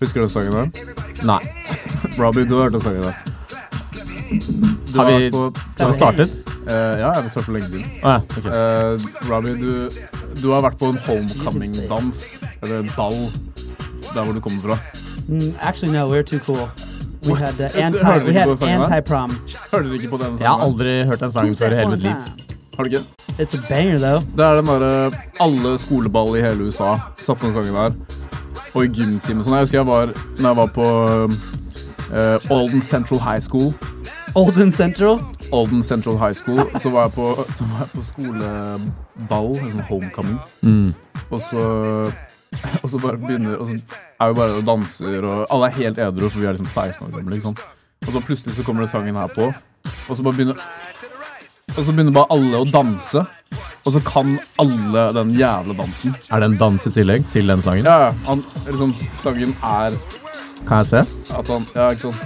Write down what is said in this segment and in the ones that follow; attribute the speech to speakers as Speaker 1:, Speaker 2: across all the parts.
Speaker 1: Husker du sangen der?
Speaker 2: Nei.
Speaker 1: Robbie, du har hørt den sangen der. Du
Speaker 2: Har
Speaker 1: var
Speaker 2: vi,
Speaker 1: på-
Speaker 2: har vi startet? Ah.
Speaker 1: Eh, ja, jeg vil starte for lenge siden.
Speaker 2: Å ja. ok.
Speaker 3: Uh,
Speaker 1: Eh, Robbie, du, du har vært på en homecoming-dans, eller ball, der hvor du kommer fra.
Speaker 3: Mm, actually, no, we're too cool. We
Speaker 1: What?
Speaker 3: had uh,
Speaker 1: Hørte du
Speaker 3: anti, we
Speaker 1: ikke
Speaker 3: had
Speaker 1: på sangen der?
Speaker 3: anti prom.
Speaker 1: Hører dere ikke på denne sangen?
Speaker 2: Jeg har
Speaker 1: her?
Speaker 2: aldri hørt den sangen før i hele mitt liv.
Speaker 1: Har du ikke?
Speaker 3: It's a banger though.
Speaker 1: Det er den derre alle skoleball i hele USA satt på den sangen der. Og i gymtime og sånn. Jeg husker jeg var Når jeg var på eh, Olden Central High School.
Speaker 3: Olden Central.
Speaker 1: Olden Central High School, så var jeg på, så var jeg på skoleball, en sånn homecoming.
Speaker 2: Mm.
Speaker 1: Og så og så bare begynner Og så er vi bare og danser, og alle er helt edru, for vi er liksom 16 år gamle. Liksom. Og så plutselig så kommer det sangen her på, og så bare begynner Og så begynner bare alle å danse. Og så kan alle den jævla dansen.
Speaker 2: Er det en dans i tillegg til den sangen?
Speaker 1: Ja, ja, han, liksom, sangen er
Speaker 2: Kan jeg se?
Speaker 1: at han Ja, ikke sant.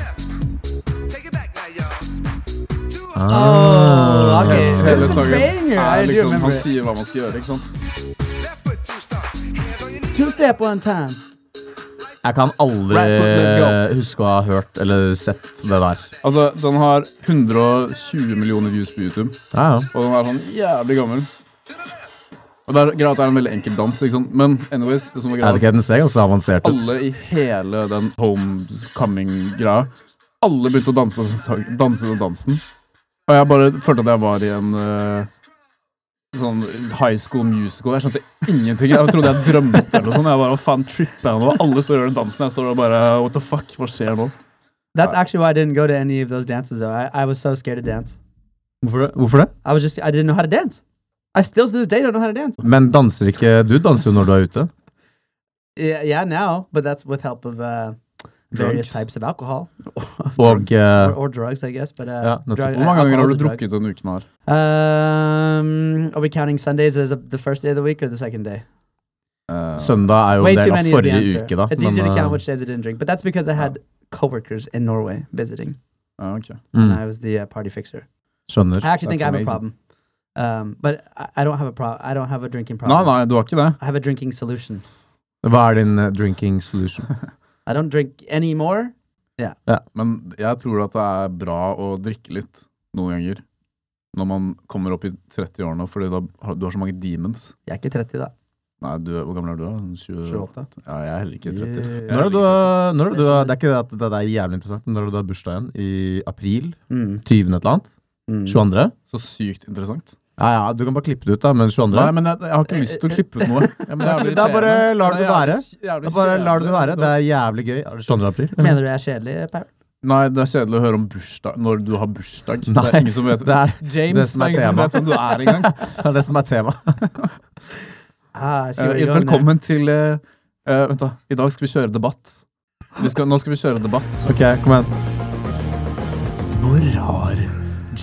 Speaker 1: Uh,
Speaker 3: Oh, okay.
Speaker 1: Hele
Speaker 3: It's a
Speaker 1: sangen
Speaker 3: banger. I
Speaker 1: er
Speaker 3: do
Speaker 1: liksom
Speaker 3: remember
Speaker 1: Han
Speaker 3: it.
Speaker 1: sier hva man skal gjøre, ikke sant.
Speaker 3: Two step one time.
Speaker 2: Jeg kan
Speaker 1: Right foot, let's
Speaker 2: aldri huske å ha hørt eller sett det der.
Speaker 1: Altså, den har 120 millioner views på YouTube.
Speaker 2: Ja, ja.
Speaker 1: Og den er sånn jævlig gammel. Og det er greit, det er en veldig enkel dans, ikke sant? men anyways, det som var
Speaker 2: Jeg vet
Speaker 1: greit,
Speaker 2: ikke, den ser ganske avansert ut.
Speaker 1: alle i hele den homecoming-greia, alle begynte å danse, den sang- danse den dansen. Og jeg bare følte at jeg var i en eh, sånn high school musical. Jeg skjønte ingenting. Jeg trodde jeg drømte eller noe sånt. Jeg bare, hva faen, tripper jeg nå? Alle står og gjør den dansen. Jeg står og bare, what the fuck, hva skjer nå?
Speaker 3: That's actually why I didn't go to any of those dances though. I, I was so scared to dance.
Speaker 2: Hvorfor det? Hvorfor det?
Speaker 3: I was just I didn't know how to dance. I still to this day don't know how to dance.
Speaker 2: Men danser ikke Du danser jo når du er ute.
Speaker 3: Yeah, yeah, now, but that's with help of uh, various
Speaker 1: Drugs. Uh.
Speaker 3: types of alcohol
Speaker 2: Og
Speaker 3: or,
Speaker 2: eh,
Speaker 3: or drugs, I guess. But uh,
Speaker 2: Ja, nettopp.
Speaker 3: drug-
Speaker 1: Hvor mange ganger har
Speaker 3: alcohol's
Speaker 1: du
Speaker 3: a drug.
Speaker 1: drukket denne uken her?
Speaker 3: Um, are we counting Sundays as a, the first day of the week or the second day?
Speaker 1: Eh,
Speaker 2: søndag er jo
Speaker 3: Way
Speaker 2: en
Speaker 3: too
Speaker 2: del av
Speaker 3: many is the
Speaker 2: forrige
Speaker 3: answer.
Speaker 2: uke, da.
Speaker 3: It's
Speaker 2: Men,
Speaker 3: easier to
Speaker 2: eh,
Speaker 1: uh,
Speaker 3: count which days I didn't drink, but that's because I had coworkers in Norway visiting,
Speaker 1: Ja, ok.
Speaker 2: mm,
Speaker 3: and I was the uh, party fixer.
Speaker 2: skjønner.
Speaker 3: I actually think I have
Speaker 1: That's
Speaker 3: a problem, um, but I, I don't have a pro- I don't have a drinking
Speaker 1: Nei,
Speaker 3: problem.
Speaker 1: nei, du har ikke det.
Speaker 3: I have a drinking solution.
Speaker 2: Hva er din eh, drinking solution?
Speaker 3: I don't drink anymore.
Speaker 1: Men jeg tror at det er bra å drikke litt noen ganger. Når man kommer opp i 30-årene, fordi da har, du har så mange demons.
Speaker 3: Jeg er ikke 30 da.
Speaker 1: Nei, du, Hvor gammel er du? da? 20,
Speaker 3: 28.
Speaker 1: Ja, jeg er uh, heller ikke 30.
Speaker 3: Yeah.
Speaker 1: Jeg
Speaker 2: Når er det
Speaker 1: heller
Speaker 2: du
Speaker 1: ikke 30.
Speaker 2: har- når er det du har Det er ikke det at det er jævlig interessant, men når er det du har bursdag igjen? I april?
Speaker 3: Mm,
Speaker 2: 20. et eller annet?
Speaker 3: mm.
Speaker 2: 22.?
Speaker 1: Så sykt interessant.
Speaker 2: Ja, ja, du kan bare klippe det ut, da, men 22.
Speaker 1: Nei, men jeg, jeg har ikke lyst til å klippe ut noe. Ja, men det er jævlig
Speaker 2: Eh, Da bare
Speaker 1: irriterende.
Speaker 2: lar du det
Speaker 1: jævlig-
Speaker 2: Da
Speaker 1: jævlig
Speaker 2: bare lar du det
Speaker 1: kjedelig. altså.
Speaker 2: være. Det er jævlig gøy. Er det 22. april?
Speaker 3: Mener du jeg er kjedelig, Per?
Speaker 1: Nei, det er kjedelig å høre om bursdag når du har bursdag. Det
Speaker 2: Nei,
Speaker 1: er ingen som vet
Speaker 2: Det er
Speaker 1: James,
Speaker 2: det som er
Speaker 1: ingen som
Speaker 2: tema.
Speaker 1: vet hvem du er engang.
Speaker 2: det, er det som er tema.
Speaker 3: Ah, I see where
Speaker 1: Eh,
Speaker 3: you're going there.
Speaker 1: velkommen til eh, eh, Vent, da. I dag skal vi kjøre debatt. Vi skal, nå skal vi kjøre debatt.
Speaker 2: Ok, kom igjen.
Speaker 1: Når har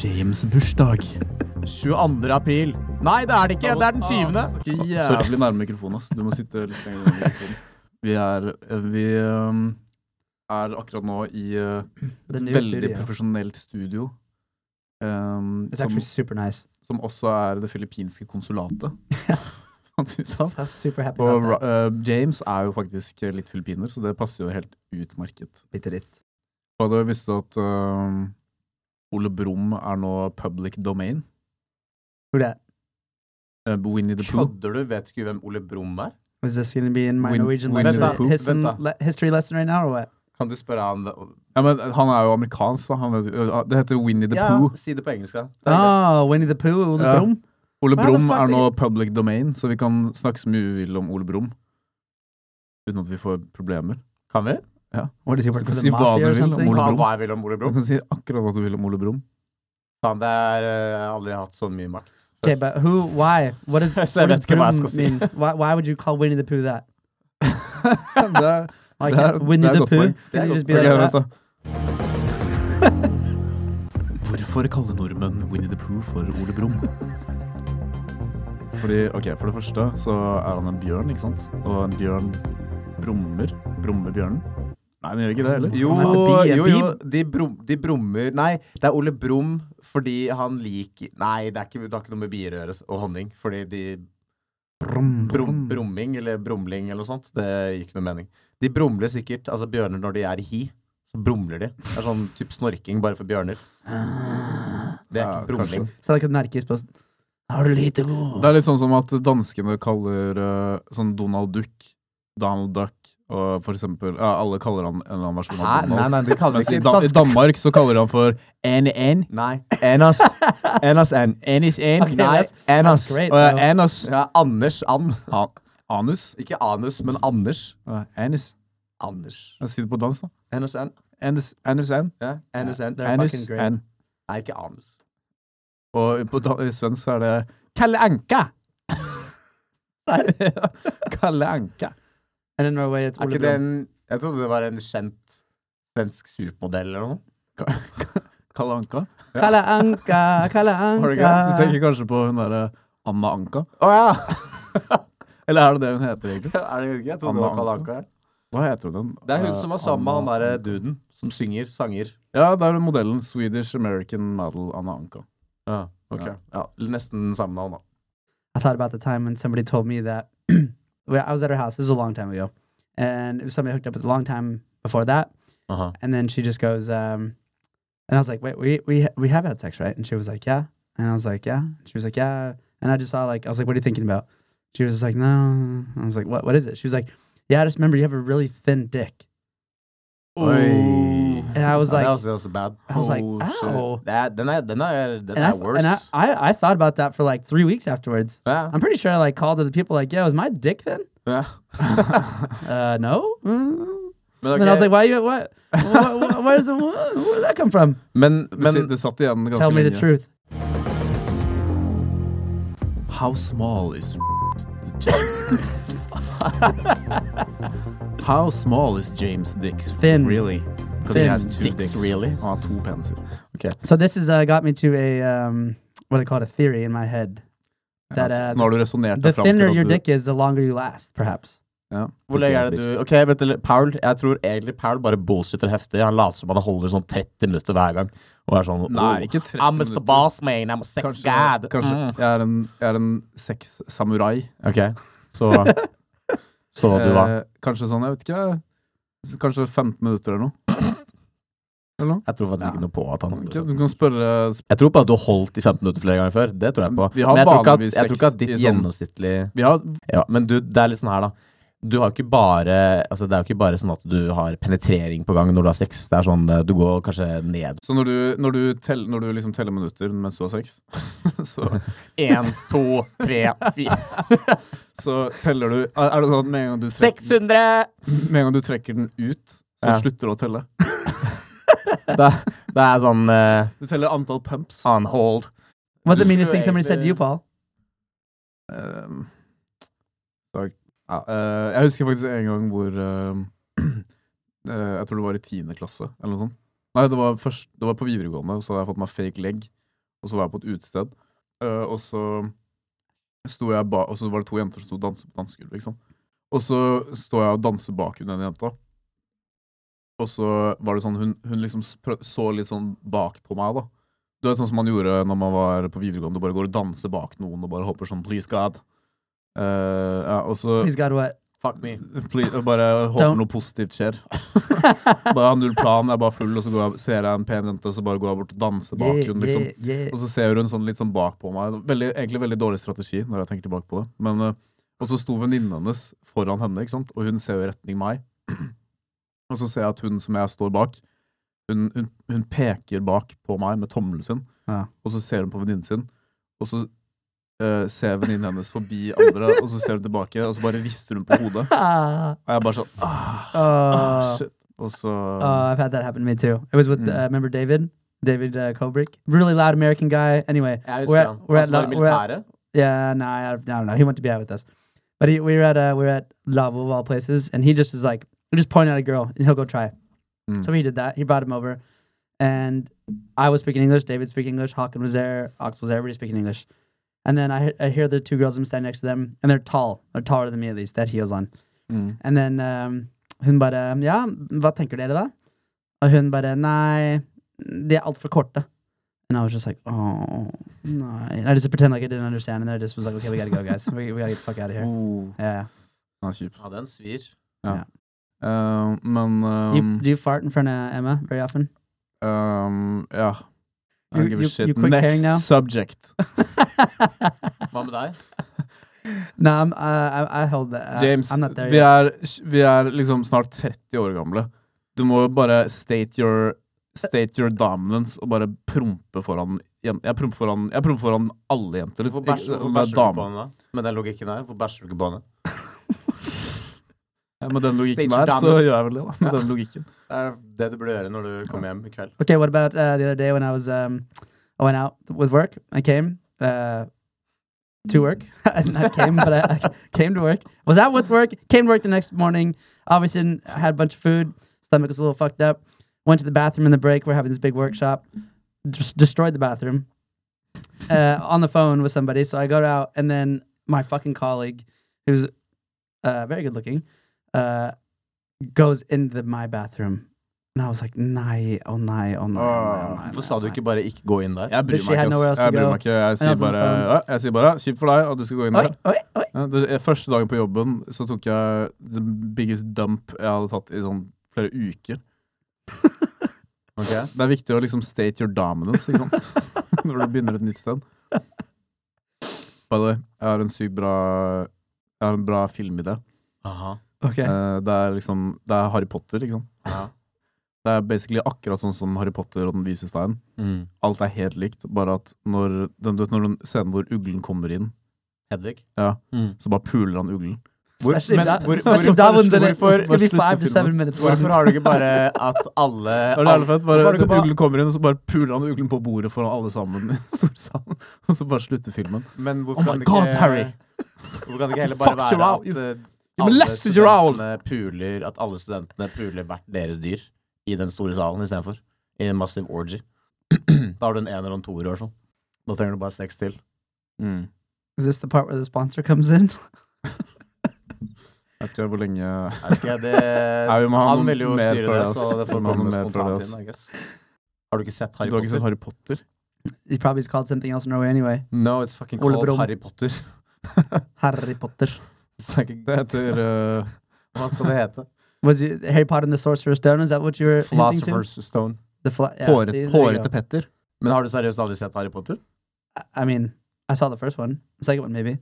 Speaker 1: James bursdag?
Speaker 2: 22. april. Nei, det er det ikke. Det er den 20.
Speaker 1: Ikke jævlig nærme mikrofonen, ass. Du må sitte litt lenger unna mikrofonen. Vi er eh, Vi ehm, er akkurat nå i eh, et
Speaker 3: The new
Speaker 1: veldig
Speaker 3: studio.
Speaker 1: profesjonelt studio. ehm,
Speaker 3: It's
Speaker 1: som,
Speaker 3: actually super nice.
Speaker 1: som også er det filippinske konsulatet. Fant vi ut av.
Speaker 3: I'm super happy
Speaker 1: Og
Speaker 3: about that.
Speaker 1: Ra- eh, James er jo faktisk litt filippiner, så det passer jo helt utmerket.
Speaker 3: Bitte litt.
Speaker 1: Og da visste du at øhm, Ole Brumm er nå public domain.
Speaker 3: Who that?
Speaker 1: Uh, Winnie the Pooh.
Speaker 2: du? Vet ikke hvem Ole Brumm er?
Speaker 3: Is this going to be in my
Speaker 1: Win-
Speaker 3: Norwegian
Speaker 1: Winnie
Speaker 3: lesson,
Speaker 1: the Pooh.
Speaker 3: history,
Speaker 2: Vent da.
Speaker 3: le- history lesson right now, or what?
Speaker 2: Kan du spørre han
Speaker 1: Ja, men han er jo amerikansk, da. Han vet, øh, det heter Winnie the Pooh.
Speaker 2: si det på engelsk, da.
Speaker 3: Ah, Winnie the Pooh, Ole
Speaker 1: Ja.
Speaker 3: Brumm.
Speaker 1: Ole
Speaker 3: Hva er det
Speaker 1: Brumm
Speaker 3: fuck
Speaker 1: er nå
Speaker 3: det-
Speaker 1: public domain, så vi kan snakke så mye vi vil om Ole Brumm. Uten at vi får problemer.
Speaker 2: Kan vi?
Speaker 3: What is he
Speaker 1: Du
Speaker 3: working for
Speaker 1: kan
Speaker 3: the
Speaker 1: si hva
Speaker 3: mafia
Speaker 1: du
Speaker 3: or
Speaker 1: vil om
Speaker 3: something?
Speaker 1: Ole Brumm.
Speaker 2: jeg vil om Ole
Speaker 1: Du kan si akkurat hva du vil om Ole Brumm.
Speaker 2: Faen, det er eh, Jeg har aldri hatt så mye makt.
Speaker 3: Okay, but who? Why? What is?
Speaker 2: So
Speaker 3: what does
Speaker 2: that's good
Speaker 3: Brumm
Speaker 2: ask us.
Speaker 3: mean? Why? Why would you call Winnie the Pooh that?
Speaker 1: det er,
Speaker 3: Like
Speaker 1: Det er-
Speaker 3: Winnie
Speaker 1: det er
Speaker 3: the
Speaker 1: godt
Speaker 3: Pooh?
Speaker 1: poeng.
Speaker 2: er
Speaker 3: Can you
Speaker 2: godt
Speaker 3: just be
Speaker 1: Ok,
Speaker 3: like "Ah,
Speaker 1: vent,
Speaker 3: that?
Speaker 1: da. Hvorfor kaller nordmenn Winnie the Pooh for Ole Brumm? Fordi, ok, For det første så er han en bjørn, ikke sant? Og en bjørn brummer. Brummer bjørnen? Nei, den gjør ikke det heller.
Speaker 2: Jo,
Speaker 3: Han heter Bi-
Speaker 2: jo,
Speaker 3: Bi-
Speaker 2: jo. De, brum, de brummer Nei, det er Ole Brumm fordi han liker Nei, det, er ikke, det har ikke noe med bier å gjøre, og honning. Fordi de
Speaker 1: Brum.
Speaker 2: Brum, brumming eller brumling eller noe sånt. Det gir ikke noe mening. De brumler sikkert, altså bjørner når de er i hi, så brumler de. Det er sånn typ snorking bare for bjørner. Det er
Speaker 1: Ja,
Speaker 2: ikke brumling.
Speaker 3: Så det kan merkes på Har du lite god
Speaker 1: Det er litt sånn som at danskene kaller eh, sånn Donald Duck, Donald Duck og for eksempel ja, Alle kaller han en eller annen versjon
Speaker 2: Hæ?
Speaker 1: av
Speaker 2: Nei,
Speaker 1: Donald.
Speaker 2: nei, de kaller
Speaker 1: Mens Altså, i,
Speaker 2: ikke
Speaker 1: Dan I
Speaker 2: dansk.
Speaker 1: Danmark så kaller han for N-N.
Speaker 2: Nei. Enas. Enas N. Enis N.
Speaker 3: Ok,
Speaker 2: Nei,
Speaker 3: that's-
Speaker 2: Enas.
Speaker 3: that's great,
Speaker 2: Og, eh,
Speaker 3: though.
Speaker 2: Enas. Ja, Anders Ann.
Speaker 1: A- Anus.
Speaker 2: Ikke anus, men Anders.
Speaker 1: Ja, Anis.
Speaker 2: Anders.
Speaker 1: Jeg sier det på dansk, da.
Speaker 2: Enas N.
Speaker 1: Anis, Anis N.
Speaker 2: Ja, Enas N.
Speaker 3: They're
Speaker 1: Anis
Speaker 3: fucking great.
Speaker 1: N.
Speaker 2: Nei, ikke anus.
Speaker 1: Og på dan i svensk så er det Kalle Anka. Kalle Anka.
Speaker 3: And in Norway it's
Speaker 2: Er
Speaker 3: Ole
Speaker 2: ikke det
Speaker 3: Brumm.
Speaker 2: en Jeg trodde det var en kjent svensk supermodell eller noe.
Speaker 1: Kalle Anka.
Speaker 3: Kalle Anka, Kalle
Speaker 1: Har du ikke? det? Du
Speaker 3: Anka.
Speaker 1: tenker kanskje på hun derre Anna Anka?
Speaker 2: Å ja!
Speaker 1: Eller er det det hun heter, egentlig?
Speaker 2: er det ikke? Jeg trodde
Speaker 1: Anna
Speaker 2: det var Kalle
Speaker 1: Anka.
Speaker 2: Anka.
Speaker 1: Hva heter hun?
Speaker 2: Det er hun som var sammen med han
Speaker 1: der
Speaker 2: derre duden som synger sanger.
Speaker 1: Ja, det er modellen. Swedish American Model Anna Anka.
Speaker 2: Ja, ok. Ja, nesten samme navn, da.
Speaker 3: I thought about the time when somebody told me that well, I was at her house. This was a long time ago, and it was somebody I hooked up with a long time before that.
Speaker 2: Uh-huh.
Speaker 3: And then she just goes, um, and I was like, "Wait, we we we have had sex, right?" And she was like, "Yeah," and I was like, "Yeah." She was like, "Yeah," and I just saw like I was like, "What are you thinking about?" She was just like, "No." I was like, "What? What is it?" She was like, "Yeah, I just remember you have a really thin dick,"
Speaker 2: Oi.
Speaker 3: and I was
Speaker 2: Ja,
Speaker 3: like,
Speaker 2: det er også, det er også bad.
Speaker 3: I was like,
Speaker 1: oh, shit.
Speaker 3: "Ow."
Speaker 2: Det er, den er, den er, den
Speaker 3: And I,
Speaker 2: er
Speaker 3: f-
Speaker 2: worse.
Speaker 3: and I, I, I thought about that for like three weeks afterwards.
Speaker 2: ja.
Speaker 3: I'm pretty sure I like called other people like, "Yo, is my dick thin?"
Speaker 2: ja.
Speaker 3: Uh, no. Mm.
Speaker 2: Men, ok,
Speaker 3: And then I was like, why you, what, what, what, where's the, what, where did that come from?
Speaker 2: men,
Speaker 1: Det si-
Speaker 2: men
Speaker 1: det satt igjen ganske
Speaker 3: Tell me
Speaker 1: lenge.
Speaker 3: the truth.
Speaker 1: How small is James Dick? How small is James Dick's
Speaker 3: Thin.
Speaker 1: really? Because
Speaker 3: Thin.
Speaker 1: he has two
Speaker 2: Dicks,
Speaker 1: dicks.
Speaker 2: really?
Speaker 1: Han har to peniser.
Speaker 3: So this has uh, got me to a, um, what I call it, a theory in my head. That,
Speaker 1: Ja, så-
Speaker 3: uh,
Speaker 1: så nå har du resonnert
Speaker 3: The
Speaker 1: deg fram til
Speaker 3: thinner
Speaker 1: at
Speaker 3: your
Speaker 1: du-
Speaker 3: dick is, the longer you last, perhaps.
Speaker 1: Ja,
Speaker 2: hvor lenge er det du Ok, vet du, Paul, jeg tror egentlig Paul bare bullshitter heftig. Han later som han holder sånn 30 minutter hver gang. Og er sånn
Speaker 1: Nei,
Speaker 2: oh,
Speaker 1: ikke 30
Speaker 2: I'm
Speaker 1: minutter.
Speaker 2: Mr. Boss, man. I'm a sex
Speaker 1: Kanskje, sånn-
Speaker 2: god.
Speaker 1: kanskje.
Speaker 2: Mm.
Speaker 1: Jeg er en, jeg er en sex-samurai.
Speaker 2: Ok, så Så du hva?
Speaker 1: Eh, kanskje sånn, jeg vet ikke Kanskje 15 minutter eller noe. Eller noe?
Speaker 2: Jeg tror faktisk ikke
Speaker 1: Ja.
Speaker 2: noe på at han
Speaker 1: Ikke? Du kan spørre sp-
Speaker 2: Jeg tror på at du har holdt i 15 minutter flere ganger før. Det tror jeg på.
Speaker 1: Vi har
Speaker 2: Men jeg tror ikke at,
Speaker 1: vanligvis
Speaker 2: jeg tror ikke at
Speaker 1: sex
Speaker 2: ditt
Speaker 1: i sånn-
Speaker 2: gjennomsnittlig
Speaker 1: Vi har
Speaker 2: ja, Men du, det er litt sånn her, da. Du har ikke bare Altså, det er jo ikke bare sånn at du har penetrering på gang når du har sex. Det er sånn eh, Du går kanskje ned
Speaker 1: Så når du, når du, tell, når du liksom teller minutter mens du har sex, så,
Speaker 2: Én, to, tre, fire
Speaker 1: så teller du Er er det sånn at med en gang du trekker,
Speaker 2: 600!
Speaker 1: den- med en gang du trekker den ut, så
Speaker 2: Ja.
Speaker 1: slutter du å telle?
Speaker 2: Det, det er sånn eh,
Speaker 1: Du teller antall pumps.
Speaker 2: on hold.
Speaker 3: What's the
Speaker 1: Just
Speaker 3: meanest thing somebody
Speaker 1: create
Speaker 3: said to you,
Speaker 1: the-
Speaker 3: Paul?
Speaker 1: Ehm, takk. ja, eh, jeg husker faktisk en gang hvor ehm, eh, Jeg tror det var i tiende klasse, eller noe sånt. Nei, det var, først, det var på videregående, og så hadde jeg fått meg fake leg. Og så var jeg på et utested, eh, og så sto jeg ba, Og så var det to jenter som sto og danset på dansegulvet, ikke sant. Og så står jeg og danser bak hun ene jenta. Og så var det sånn Hun, hun liksom sprø- så litt sånn bak på meg, da. Du vet sånn som man gjorde når man var på videregående, du bare går og danser bak noen og bare hopper sånn 'please God'. Eh, ja, og så
Speaker 3: He's got what?
Speaker 2: Fuck me.
Speaker 1: Please, og bare håper
Speaker 3: Don't.
Speaker 1: noe positivt skjer. bare har null plan, jeg er bare full, og så går jeg, ser jeg en pen jente, og så bare går jeg bort og danser bak
Speaker 3: Yeah,
Speaker 1: hun, liksom.
Speaker 3: yeah, yeah.
Speaker 1: Og så ser hun sånn litt sånn bak på meg. Veldig, egentlig veldig dårlig strategi, når jeg tenker tilbake på det. Men, eh, og så sto venninnen hennes foran henne, ikke sant? og hun ser jo i retning meg. Og så ser jeg at hun som jeg står bak, hun, hun, hun peker bak på meg med tommelen sin,
Speaker 3: Ja.
Speaker 1: og så ser hun på venninnen sin, og så eh, ser venninnen hennes forbi andre, og så ser hun tilbake, og så bare rister hun på hodet.
Speaker 3: Ah,
Speaker 1: Og jeg bare sånn ah,
Speaker 3: uh,
Speaker 1: Shit. Og så
Speaker 3: Uh, I've had that happen to me too. It was with
Speaker 1: Mm.
Speaker 3: uh, remember David, David uh, Kobrick, really loud American guy. Anyway, We're
Speaker 2: Jeg husker
Speaker 3: at-
Speaker 2: han.
Speaker 3: we're at
Speaker 2: Han som var
Speaker 3: la-
Speaker 2: i
Speaker 3: we're at-
Speaker 2: militæret.
Speaker 3: yeah, no, I, I don't know. He went to be out with us, but he, we were at uh, we were at Lavo of all places, and he just was like, he just point at a girl, and he'll go try. it.
Speaker 1: Mm.
Speaker 3: So he did that. He brought him over, and I was speaking English. David speaking English. Hawkins was there. Ox was there. Everybody speaking English. And then I, he- I hear the two girls. I'm standing next to them, and they're tall. They're taller than me at least. That heels on.
Speaker 1: Mm.
Speaker 3: And then um, hun bare Ja, hva tenker dere da? Og hun bare Nei, de er altfor korte. And I was just like, oh, no. And I just pretend like I didn't understand. And then I just was like, okay, we gotta go, guys. We, we gotta get the fuck out of here.
Speaker 1: Oh,
Speaker 3: Yeah.
Speaker 1: den er kjip.
Speaker 2: Ja, den svir.
Speaker 1: Eh, men
Speaker 3: Do you,
Speaker 1: ehm,
Speaker 3: do you fart in front of Emma very often?
Speaker 1: ehm, Ja. I
Speaker 3: You-
Speaker 1: don't give a
Speaker 3: you- you
Speaker 1: shit.
Speaker 3: quit
Speaker 1: Next
Speaker 3: caring now? Uh,
Speaker 1: subject.
Speaker 2: Hva med deg?
Speaker 3: no, I'm, uh, I, I hold that. I,
Speaker 1: James,
Speaker 3: I'm not there
Speaker 1: vi
Speaker 3: yet.
Speaker 1: er, vi er liksom snart 30 år gamle. Du må jo bare state your, state your dominance og bare prompe foran jen- Jeg promper foran, jeg promper foran alle jenter.
Speaker 2: Hvorfor bæsjer
Speaker 1: Ikke-
Speaker 2: hvorfor
Speaker 1: om det er
Speaker 2: bæsjer du ikke
Speaker 1: dame.
Speaker 2: på henne? da? Med den logikken der, hvorfor bæsjer du ikke på henne?
Speaker 1: Ja, med den logikken
Speaker 2: State your
Speaker 1: der, så
Speaker 2: dominance.
Speaker 1: gjør jeg vel det. da Med den logikken
Speaker 2: Det er det du burde gjøre når du kommer hjem i kveld.
Speaker 3: Okay, what about uh, the other day when I was, um, I went out with work. I came uh, to work. I did not came, but I, I came to work. Was out with work. Came to work the next morning. Obviously, didn't- I had a bunch of food. Stomach was a little fucked up. Went to the bathroom in the break. We're having this big workshop. Just destroyed the bathroom. Uh, on the phone with somebody. So I go out, and then my fucking colleague, who's uh, very good looking, uh, goes into my bathroom. And I was like, nei, oh nei, oh nei. oh, nei, oh, nei,
Speaker 2: Hvorfor sa
Speaker 3: oh,
Speaker 2: du
Speaker 3: nei."
Speaker 2: ikke bare 'ikke gå inn der'?
Speaker 1: Jeg bryr
Speaker 3: She
Speaker 1: meg
Speaker 3: had
Speaker 1: ikke.
Speaker 3: nowhere
Speaker 1: ass.
Speaker 3: else to
Speaker 1: Jeg bryr
Speaker 3: go.
Speaker 1: meg ikke Jeg sier
Speaker 3: And I was on
Speaker 1: bare
Speaker 3: the phone.
Speaker 1: ja, Jeg sier bare kjipt for deg at du skal gå inn
Speaker 3: Oi,
Speaker 1: der.
Speaker 3: oi, oi.
Speaker 1: Ja, det- jeg- Første dagen på jobben så tok jeg the biggest dump jeg hadde tatt i sånn flere uker.
Speaker 2: Ok?
Speaker 1: Det er viktig å liksom state your dominance ikke sant? når du begynner et nytt sted. By the way, jeg har en sykt bra Jeg har en bra filmidé.
Speaker 2: Aha.
Speaker 3: Ok.
Speaker 1: Eh, Det er liksom Det er Harry Potter, ikke sant.
Speaker 2: Ja.
Speaker 1: Det er basically akkurat sånn som Harry Potter og Den vise stein.
Speaker 2: Mm.
Speaker 1: Alt er helt likt, bare at når den, du vet, når den scenen hvor uglen kommer inn,
Speaker 2: Hedvig?
Speaker 1: Ja.
Speaker 2: Mm.
Speaker 1: så bare puler han uglen.
Speaker 2: Hvor,
Speaker 3: Especially
Speaker 2: men,
Speaker 3: that-
Speaker 2: hvor,
Speaker 3: especially that one's in it. It's
Speaker 2: hvorfor,
Speaker 3: gonna be
Speaker 1: slutt å
Speaker 3: five to
Speaker 1: filme.
Speaker 3: seven minutes long.
Speaker 2: hvorfor har du ikke bare at alle,
Speaker 1: Det er
Speaker 2: alle
Speaker 1: jævlig fett.
Speaker 2: Hvorfor har
Speaker 1: Bare
Speaker 2: du ikke bare-
Speaker 1: uglen kommer inn, og så bare puler han uglen på bordet foran alle sammen. i stor sal. Og så bare slutter filmen.
Speaker 2: Men
Speaker 1: Oh
Speaker 2: hvorfor kan
Speaker 1: my
Speaker 2: det
Speaker 1: God,
Speaker 2: ikke
Speaker 1: Harry.
Speaker 2: Hvorfor kan det ikke heller bare
Speaker 1: Fucked your
Speaker 2: være
Speaker 1: owl.
Speaker 2: at
Speaker 1: You-
Speaker 2: eh,
Speaker 1: molested your owl.
Speaker 2: studentene puler At alle studentene puler hvert deres dyr i den store salen istedenfor? I en massiv orgy. da har du en ener og en toer i hvert fall. Da trenger du bare seks til. Mm.
Speaker 3: Is this the part where the sponsor comes in?
Speaker 1: Jeg vet ikke hvor lenge
Speaker 2: Jeg vet ikke, det,
Speaker 1: Nei, vi må ha
Speaker 2: han
Speaker 1: noe
Speaker 2: ville jo
Speaker 1: mer
Speaker 2: styre
Speaker 1: for
Speaker 2: det,
Speaker 1: det, ass.
Speaker 2: så det
Speaker 1: Vi
Speaker 2: får
Speaker 1: må ha
Speaker 2: komme
Speaker 1: noe mer for det,
Speaker 2: spontant
Speaker 1: ass.
Speaker 2: inn, I guess. Har du ikke sett Harry
Speaker 1: Du har ikke sett
Speaker 2: Potter?
Speaker 1: Harry Potter?
Speaker 3: It probably is called something else in Norway anyway.
Speaker 2: No, it's fucking
Speaker 3: Ole
Speaker 2: called
Speaker 3: Brumm.
Speaker 2: Harry Potter.
Speaker 3: Harry Potter.
Speaker 2: It's like-
Speaker 1: Det heter eh,
Speaker 2: Hva skal det hete?
Speaker 3: Was it Harry Potter and the Sorcerer's Stone? Is that what you were hinting to?
Speaker 2: Philosopher's Stone.
Speaker 3: The fla- yeah,
Speaker 1: Håret-
Speaker 3: see, there you
Speaker 1: Hårete
Speaker 3: go.
Speaker 1: Petter.
Speaker 2: Men har du seriøst aldri sett Harry Potter?
Speaker 3: I- I mean, I saw the first one. The second one, maybe.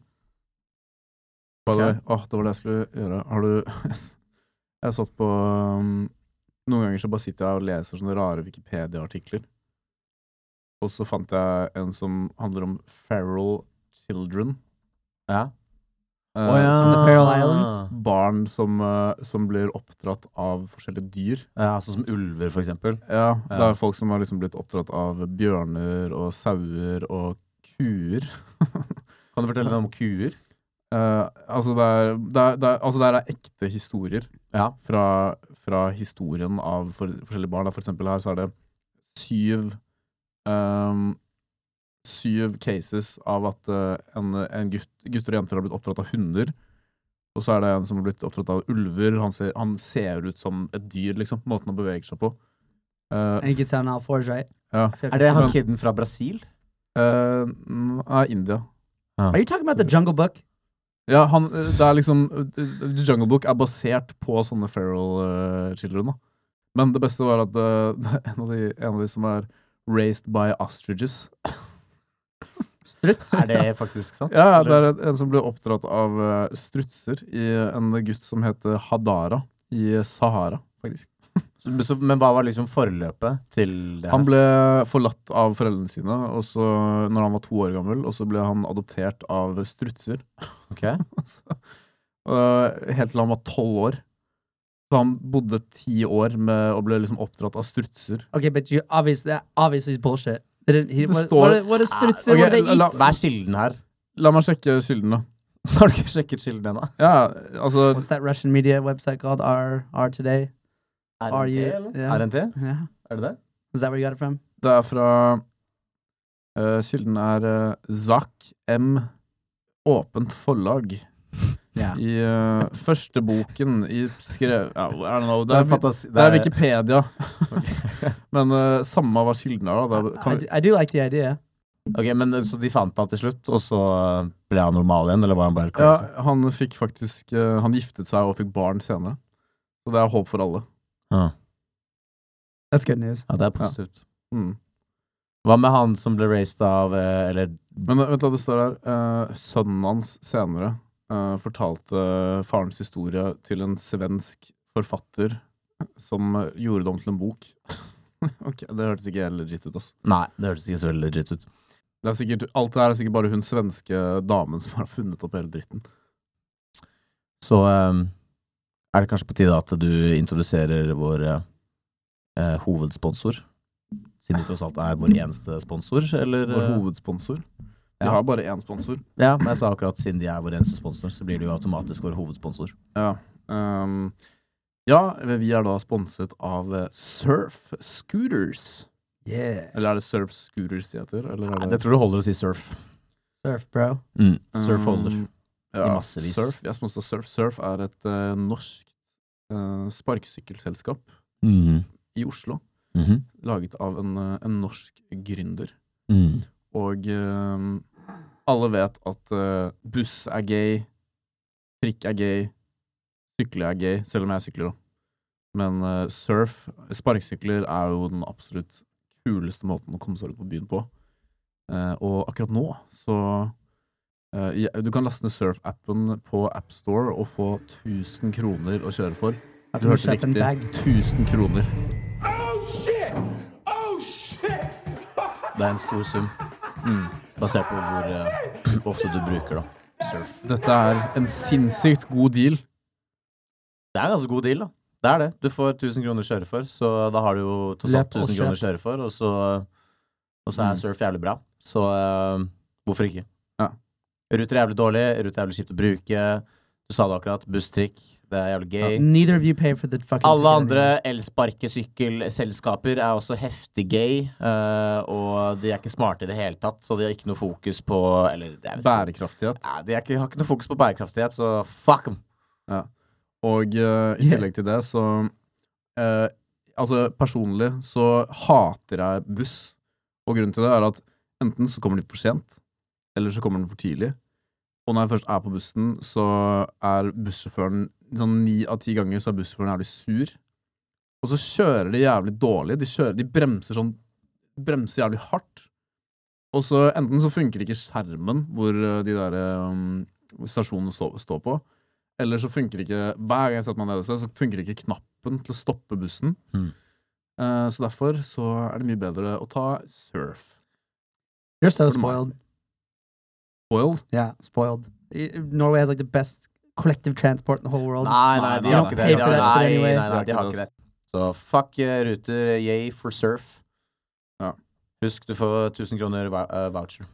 Speaker 1: By the
Speaker 2: Ok.
Speaker 1: way, Åh, det var det jeg skulle gjøre. Har du Jeg satt på um, Noen ganger så bare sitter jeg og leser sånne rare Wikipedia-artikler. Og så fant jeg en som handler om feral children.
Speaker 2: Ja.
Speaker 1: Eh,
Speaker 2: Å ja.
Speaker 1: sånne
Speaker 3: The Feral Islands?
Speaker 1: barn som, eh, som blir oppdratt av forskjellige dyr.
Speaker 2: Ja, sånn som ulver, for eksempel.
Speaker 1: Ja, Det
Speaker 2: Ja.
Speaker 1: er folk som har liksom blitt oppdratt av bjørner og sauer og kuer.
Speaker 2: Kan du fortelle meg om kuer?
Speaker 1: Eh, altså, det er, det, er, det, er, altså det her er ekte historier
Speaker 2: Ja.
Speaker 1: fra, fra historien av for, forskjellige barn. da. For eksempel her så er det syv ehm, Syv cases av at eh, en, en gutt, gutter og jenter har blitt oppdratt av hunder. Og så er det en som har blitt oppdratt av ulver. Han ser, han ser ut som et dyr, liksom. Måten han beveger seg på. Eh,
Speaker 3: And he gets out on all fours, right?
Speaker 1: Ja.
Speaker 3: I feel like
Speaker 2: Er det
Speaker 3: it's-
Speaker 2: han kiden fra Brasil?
Speaker 1: eh, n- er India.
Speaker 3: Are you talking about the Jungle Book?
Speaker 1: Ja, han, eh, det er liksom eh, The Jungle Book er basert på sånne feral eh, children. Da. Men det beste var at eh, det er en av, de, en av de som er raised by ostriches.
Speaker 2: Er det faktisk sant?
Speaker 1: Ja, ja, det
Speaker 2: Eller-
Speaker 1: er en, en som ble oppdratt av eh, strutser i en gutt som heter Hadara i Sahara. faktisk.
Speaker 2: Så- så- Men hva var liksom forløpet til det her?
Speaker 1: Han ble forlatt av foreldrene sine og så, når han var to år gammel, og så ble han adoptert av strutser.
Speaker 2: Ok.
Speaker 1: Altså. Og øh, helt til han var tolv år. Så han bodde ti år med, og ble liksom oppdratt av strutser.
Speaker 3: Okay, but you obviously that obviously is bullshit. They didn't. He,
Speaker 1: The
Speaker 3: what,
Speaker 1: store-
Speaker 3: what, what is strutser?
Speaker 1: okay,
Speaker 3: what do they
Speaker 1: la-
Speaker 3: eat?
Speaker 1: la-
Speaker 2: Hva er kilden her?
Speaker 1: La meg sjekke kilden, da.
Speaker 2: Har du ikke sjekket kilden ennå?
Speaker 1: Ja, altså
Speaker 3: What's that Russian media website called? R R today. Are you-
Speaker 2: eller?
Speaker 3: yeah.
Speaker 2: RNT?
Speaker 3: Yeah,
Speaker 2: Er det det?
Speaker 3: is that where you got it from?
Speaker 1: Det er fra øh, eh, Kilden er uh, Zak M. Åpent forlag.
Speaker 3: Yeah.
Speaker 1: I eh, første boken i skrev... Ja, I don't know,
Speaker 2: Det er,
Speaker 1: det, er,
Speaker 2: fantasi...
Speaker 1: det er Wikipedia. Men eh, samme hva kilden er, da. Det er,
Speaker 3: I,
Speaker 1: kan,
Speaker 3: d- I do like the idea.
Speaker 2: Ok, men eh, Så de fant han til slutt, og så eh, ble han normal igjen? Eller var han bare
Speaker 1: ja,
Speaker 2: crazy?
Speaker 1: han fikk faktisk eh, Han giftet seg og fikk barn senere. Så det er håp for alle.
Speaker 2: Ja.
Speaker 3: That's good news.
Speaker 2: Ja, det er positivt.
Speaker 1: Mm.
Speaker 2: Hva med han som ble raised av eh, Eller
Speaker 1: Men eh, vent, da, det står her eh, Sønnen hans senere eh, fortalte farens historie til en svensk forfatter som eh, gjorde det om til en bok. ok, Det hørtes ikke helt legit ut, altså.
Speaker 2: Nei, det hørtes ikke så veldig legit ut.
Speaker 1: Det er sikkert, alt det her er sikkert bare hun svenske damen som har funnet opp hele dritten.
Speaker 2: Så eh, er det kanskje på tide at du introduserer vår eh, eh, hovedsponsor? Siden det tross alt er vår eneste sponsor, eller?
Speaker 1: Vår
Speaker 2: eh,
Speaker 1: hovedsponsor. Vi
Speaker 2: Ja.
Speaker 1: har bare én sponsor.
Speaker 2: ja, men jeg sa akkurat siden de er vår eneste sponsor, så blir det jo automatisk vår hovedsponsor.
Speaker 1: Ja, ehm, ja vi er da sponset av eh, Surf Scooters.
Speaker 3: Yeah.
Speaker 1: Eller er det Surf Scooters de heter? Eller er det,
Speaker 2: Nei, det tror du holder å si surf.
Speaker 3: Surf, bro.
Speaker 1: Ehm,
Speaker 2: Mm. Surf holder.
Speaker 1: ja,
Speaker 2: i massevis.
Speaker 1: Surf, vi er sponset av Surf. Surf er et eh, norsk eh, sparkesykkelselskap
Speaker 2: Mhm.
Speaker 1: i Oslo.
Speaker 2: Mhm.
Speaker 1: Laget av en, eh, en norsk gründer.
Speaker 2: Mm.
Speaker 1: Og ehm, alle vet at eh, buss er gay, trikk er gay, sykle er gay, selv om jeg sykler, da. Men eh, surf, sparkesykler, er jo den absolutt kuleste måten å komme seg ut på byen på. Eh, og akkurat nå så eh, ja, Du kan laste ned surf-appen på AppStore og få 1000 kroner å kjøre for. Du
Speaker 3: How can we
Speaker 1: hørte
Speaker 3: shut them
Speaker 1: riktig.
Speaker 3: back?
Speaker 1: 1000 kroner.
Speaker 4: Oh shit! Oh shit!
Speaker 2: Det er en stor sum, Mm. basert på hvor eh, ofte du bruker da, surf.
Speaker 1: Dette er en sinnssykt god deal.
Speaker 2: Det er en ganske god deal, da. Det er det. Du får 1000 kroner å kjøre for, så da har du jo tross alt
Speaker 3: Løp og
Speaker 2: 1000 kroner å kjøre for, og så, og så
Speaker 1: Mm.
Speaker 2: er surf jævlig bra. Så eh, hvorfor ikke?
Speaker 1: Ja.
Speaker 2: Ruter er jævlig dårlig, ruter er jævlig kjipt å bruke. Du sa det akkurat, busstrikk, det er jævlig gay.
Speaker 3: Um, Neither of you pay for the fucking.
Speaker 2: Alle
Speaker 3: ticket
Speaker 2: andre
Speaker 3: anyway.
Speaker 2: elsparkesykkelselskaper er også heftig gay, eh, og de er ikke smarte i det hele tatt, så de har ikke noe fokus på Eller det er vel
Speaker 1: Bærekraftighet.
Speaker 2: ja, De er ikke, har ikke noe fokus på bærekraftighet, så fuck dem!
Speaker 1: Og eh, i
Speaker 3: Yeah.
Speaker 1: tillegg til det, så eh, Altså, personlig så hater jeg buss. Og grunnen til det er at enten så kommer de for sent, eller så kommer den for tidlig. Og når jeg først er på bussen, så er bussjåføren sånn ni av ti ganger så er bussjåføren jævlig sur. Og så kjører de jævlig dårlig. De, kjører, de bremser sånn Bremser jævlig hardt. Og så enten så funker ikke skjermen hvor eh, de der eh, stasjonene står står på, eller så funker ikke Hver gang jeg setter meg ned et sted, så funker ikke knappen til å stoppe bussen.
Speaker 2: Mm.
Speaker 1: Eh, så derfor så er det mye bedre å ta surf.
Speaker 3: You're so
Speaker 1: for meg.
Speaker 3: spoiled.
Speaker 1: Oil?
Speaker 3: Yeah, spoiled. Y- Norway has like the best collective transport in the whole world.
Speaker 2: Nei, nei, de
Speaker 1: Nei,
Speaker 2: har
Speaker 1: nei,
Speaker 2: ikke
Speaker 1: nei.
Speaker 2: det. De
Speaker 1: Pay
Speaker 2: har,
Speaker 1: for that
Speaker 2: nei,
Speaker 3: shit
Speaker 2: nei,
Speaker 3: anyway.
Speaker 2: nei, de har ikke det. Så fuck eh, ruter, yay for surf.
Speaker 1: Ja.
Speaker 2: Husk, du får 1000 kroner vou- eh, voucher.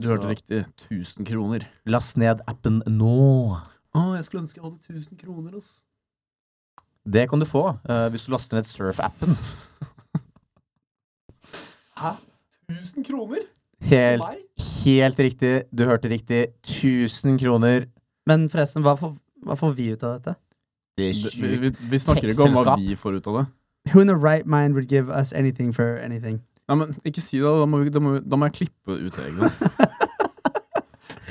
Speaker 1: Du
Speaker 2: Så-
Speaker 1: hørte riktig. 1000 kroner.
Speaker 2: Last ned appen nå.
Speaker 1: Å, jeg skulle ønske jeg hadde 1000 kroner, ass.
Speaker 2: Det kan du få eh, hvis du laster ned surf-appen.
Speaker 1: 1000 kroner?
Speaker 2: Helt, helt riktig. Du hørte riktig. 1000 kroner.
Speaker 3: Men forresten, hva får, hva får vi ut av dette?
Speaker 2: Det er
Speaker 1: Vi,
Speaker 2: sjukt.
Speaker 1: vi, vi snakker ikke om hva
Speaker 2: Tekstselskap.
Speaker 1: vi får ut av det.
Speaker 3: Who in their right mind would give us anything for anything?
Speaker 1: Nei, men Ikke si det, da må, vi, da må, vi- da må jeg klippe ut det. ikke sant?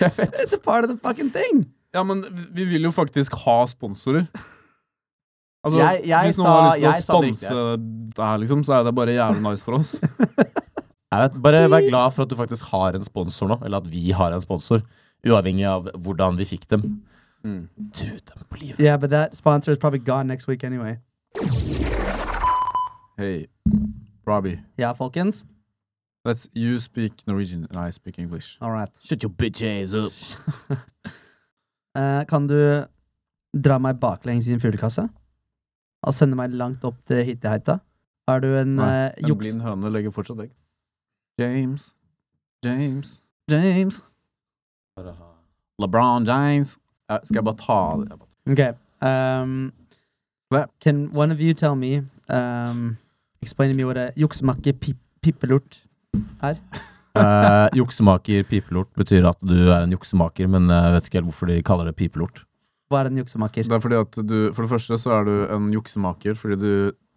Speaker 3: It's a part of the fucking thing.
Speaker 1: Ja, men vi- vi vil jo faktisk ha sponsorer. Altså,
Speaker 2: Jeg- jeg
Speaker 1: hvis noen
Speaker 2: sa-
Speaker 1: har lyst til
Speaker 2: jeg
Speaker 1: å
Speaker 2: sa det
Speaker 1: sponse det her, liksom, så er det bare jævlig nice for oss.
Speaker 2: Jeg vet, bare vær glad for at du faktisk har en sponsor nå, eller at vi har en sponsor. Uavhengig av hvordan vi fikk dem.
Speaker 1: Mm.
Speaker 2: Tro dem på livet.
Speaker 3: Yeah, but that sponsor is probably gone next week anyway.
Speaker 1: Hei, Robbie.
Speaker 3: Yeah, folkens?
Speaker 1: That's you speak Norwegian and I speak English.
Speaker 3: All right.
Speaker 2: Shut your bitch ass up.
Speaker 3: Eh, kan du dra meg baklengs i en fuglekasse? Og sende meg langt opp til Hitteheita? Har du en
Speaker 1: Nei,
Speaker 3: eh,
Speaker 1: En
Speaker 3: juks...
Speaker 1: blind høne legger fortsatt egg. James. James. James. LeBron James. Ja, skal jeg bare ta det?
Speaker 3: Okay. Um,
Speaker 1: Hva?
Speaker 3: can one of you tell ehm, me, um, explain to me what a juksemakke pip, pippelort
Speaker 2: Eh, juksemaker, pipelort betyr at du er en juksemaker, men jeg vet ikke helt hvorfor de kaller det pipelort.
Speaker 3: Hva er en juksemaker?
Speaker 1: Det er fordi at du, for det første så er du en juksemaker, fordi du,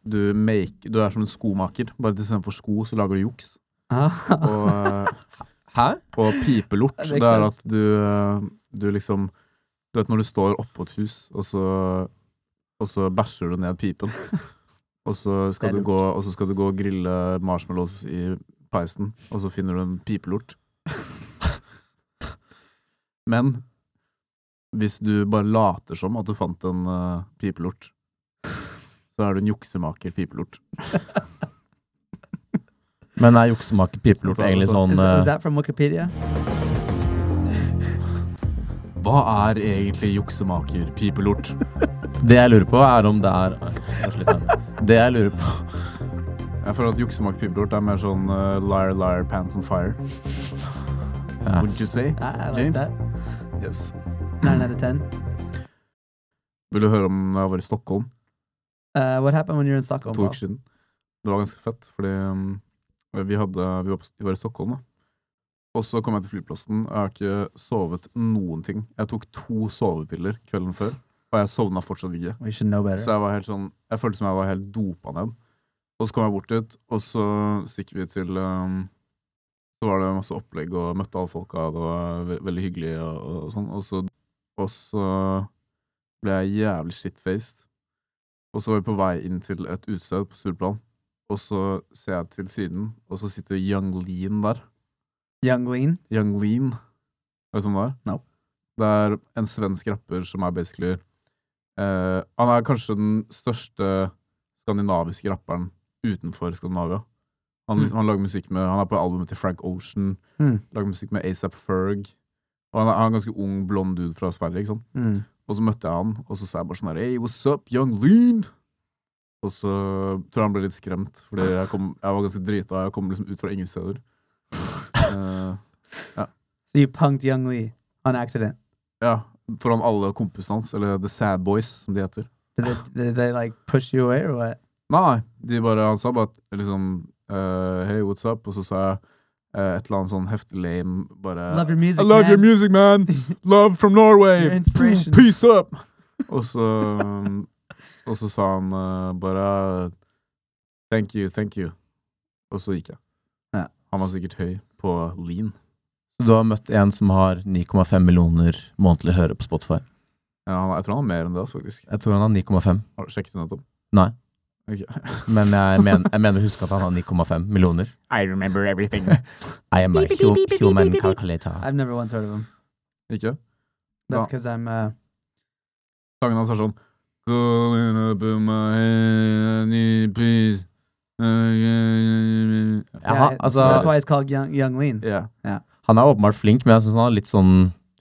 Speaker 1: du, make, du er som en skomaker. Bare istedenfor sko, så lager du juks.
Speaker 3: Ah,
Speaker 1: Og, Hæ? Og pipelort.
Speaker 3: Det
Speaker 1: Det,
Speaker 3: makes
Speaker 1: er at
Speaker 3: sense.
Speaker 1: du, eh, du liksom Du vet når du står oppå et hus, og så, og så bæsjer du ned pipen. Og så, skal
Speaker 3: Det er
Speaker 1: du gå, og så skal du gå og grille marshmallows i peisen, og så finner du en pipelort. Men hvis du bare later som at du fant en eh, pipelort, så er du en juksemaker pipelort.
Speaker 2: Men er juksemaker, pipelort egentlig sånn
Speaker 3: is, that, is
Speaker 2: eh,
Speaker 3: that from Wikipedia?
Speaker 1: Hva er egentlig juksemaker pipelort?
Speaker 2: Det jeg lurer på, er om det er Oi, jeg er sliten. Det jeg lurer på
Speaker 1: Jeg føler at juksemaker pipelort er mer sånn eh, liar, liar, pants on fire.
Speaker 2: Ja.
Speaker 1: Wouldn't you say?
Speaker 3: Ah, I, I like
Speaker 1: James?
Speaker 3: that.
Speaker 1: Yes.
Speaker 3: Nine out of ten.
Speaker 1: Vil du høre om da jeg var i Stockholm
Speaker 3: Uh, what happened when you were in Stockholm?
Speaker 1: to
Speaker 3: Paul?
Speaker 1: uker siden? Det var ganske fett, fordi um, vi, hadde, vi, var på, vi var i Stockholm, da. Og så kom jeg til flyplassen, og jeg har ikke sovet noen ting. Jeg tok to sovepiller kvelden før, og jeg sovna fortsatt ikke.
Speaker 3: We should know better.
Speaker 1: Så jeg var helt sånn Jeg følte som jeg var helt dopa ned. Og så kom jeg bort dit, og så stikk vi til um, Så var det masse opplegg, og møtte alle folka, det var ve veldig hyggelig, og, og sånn. Og så, og så ble jeg jævlig shitfaced. Og så var vi på vei inn til et utested på Stureplan, og så ser jeg til siden, og så sitter Young Lean der.
Speaker 3: Young Lean.
Speaker 1: Young Lean. Vet du hvem det er?
Speaker 3: No.
Speaker 1: Det er en svensk rapper som er basically eh, Han er kanskje den største skandinaviske rapperen utenfor Skandinavia. Han, han lager musikk med Han er på albumet til Frank Ocean,
Speaker 3: Mm.
Speaker 1: lager musikk med ASAP Ferg. Og han er, han er en ganske ung, blond dude fra Sverige. ikke sant?
Speaker 3: Mm.
Speaker 1: Og så møtte jeg han, og så sa jeg bare sånn her Hey, what's up, young lean? Og så tror jeg han ble litt skremt, fordi jeg, kom, jeg var ganske drita. Jeg kom liksom ut fra ingen steder. Eh,
Speaker 3: So you punked Young Lee on accident.
Speaker 1: ja, foran alle kompisene hans, eller The Sad Boys, som de heter.
Speaker 3: Did they, did they like push you away or what?
Speaker 1: Nei, de bare, han sa bare at, liksom eh, Hey, what's up? Og så sa jeg eh, et eller annet sånn heftig lame bare
Speaker 3: love your music.
Speaker 1: Uh, I love
Speaker 3: man.
Speaker 1: your music, man! Love from
Speaker 3: Your
Speaker 1: Norway!
Speaker 3: inspiration.
Speaker 1: Peace up! Og så Og så sa han eh, bare Thank you, thank you. Og så gikk jeg.
Speaker 3: Ja.
Speaker 1: Han var sikkert høy på lean.
Speaker 2: Du har møtt en som har 9,5 millioner månedlig høre på Spotify.
Speaker 1: Ja, han, jeg tror han har mer enn det, altså, faktisk.
Speaker 2: Jeg tror han har 9,5,
Speaker 1: Har du sjekket det nettopp?
Speaker 2: Nei.
Speaker 1: Ok.
Speaker 2: men jeg, men, jeg mener å huske at han har 9,5 millioner.
Speaker 1: I remember everything.
Speaker 2: I am a hu human calculator.
Speaker 3: I've never once heard of him.
Speaker 1: Ikke?
Speaker 3: That's
Speaker 1: No.
Speaker 3: because I'm. Uh,
Speaker 1: Sangen hans er sånn Going up in my head, I need peace. Ja.
Speaker 2: Ja, han,
Speaker 3: yeah, so that's why
Speaker 2: altså,
Speaker 3: it's called Young Young Lean.
Speaker 2: han er åpenbart flink, men jeg syns han har litt sånn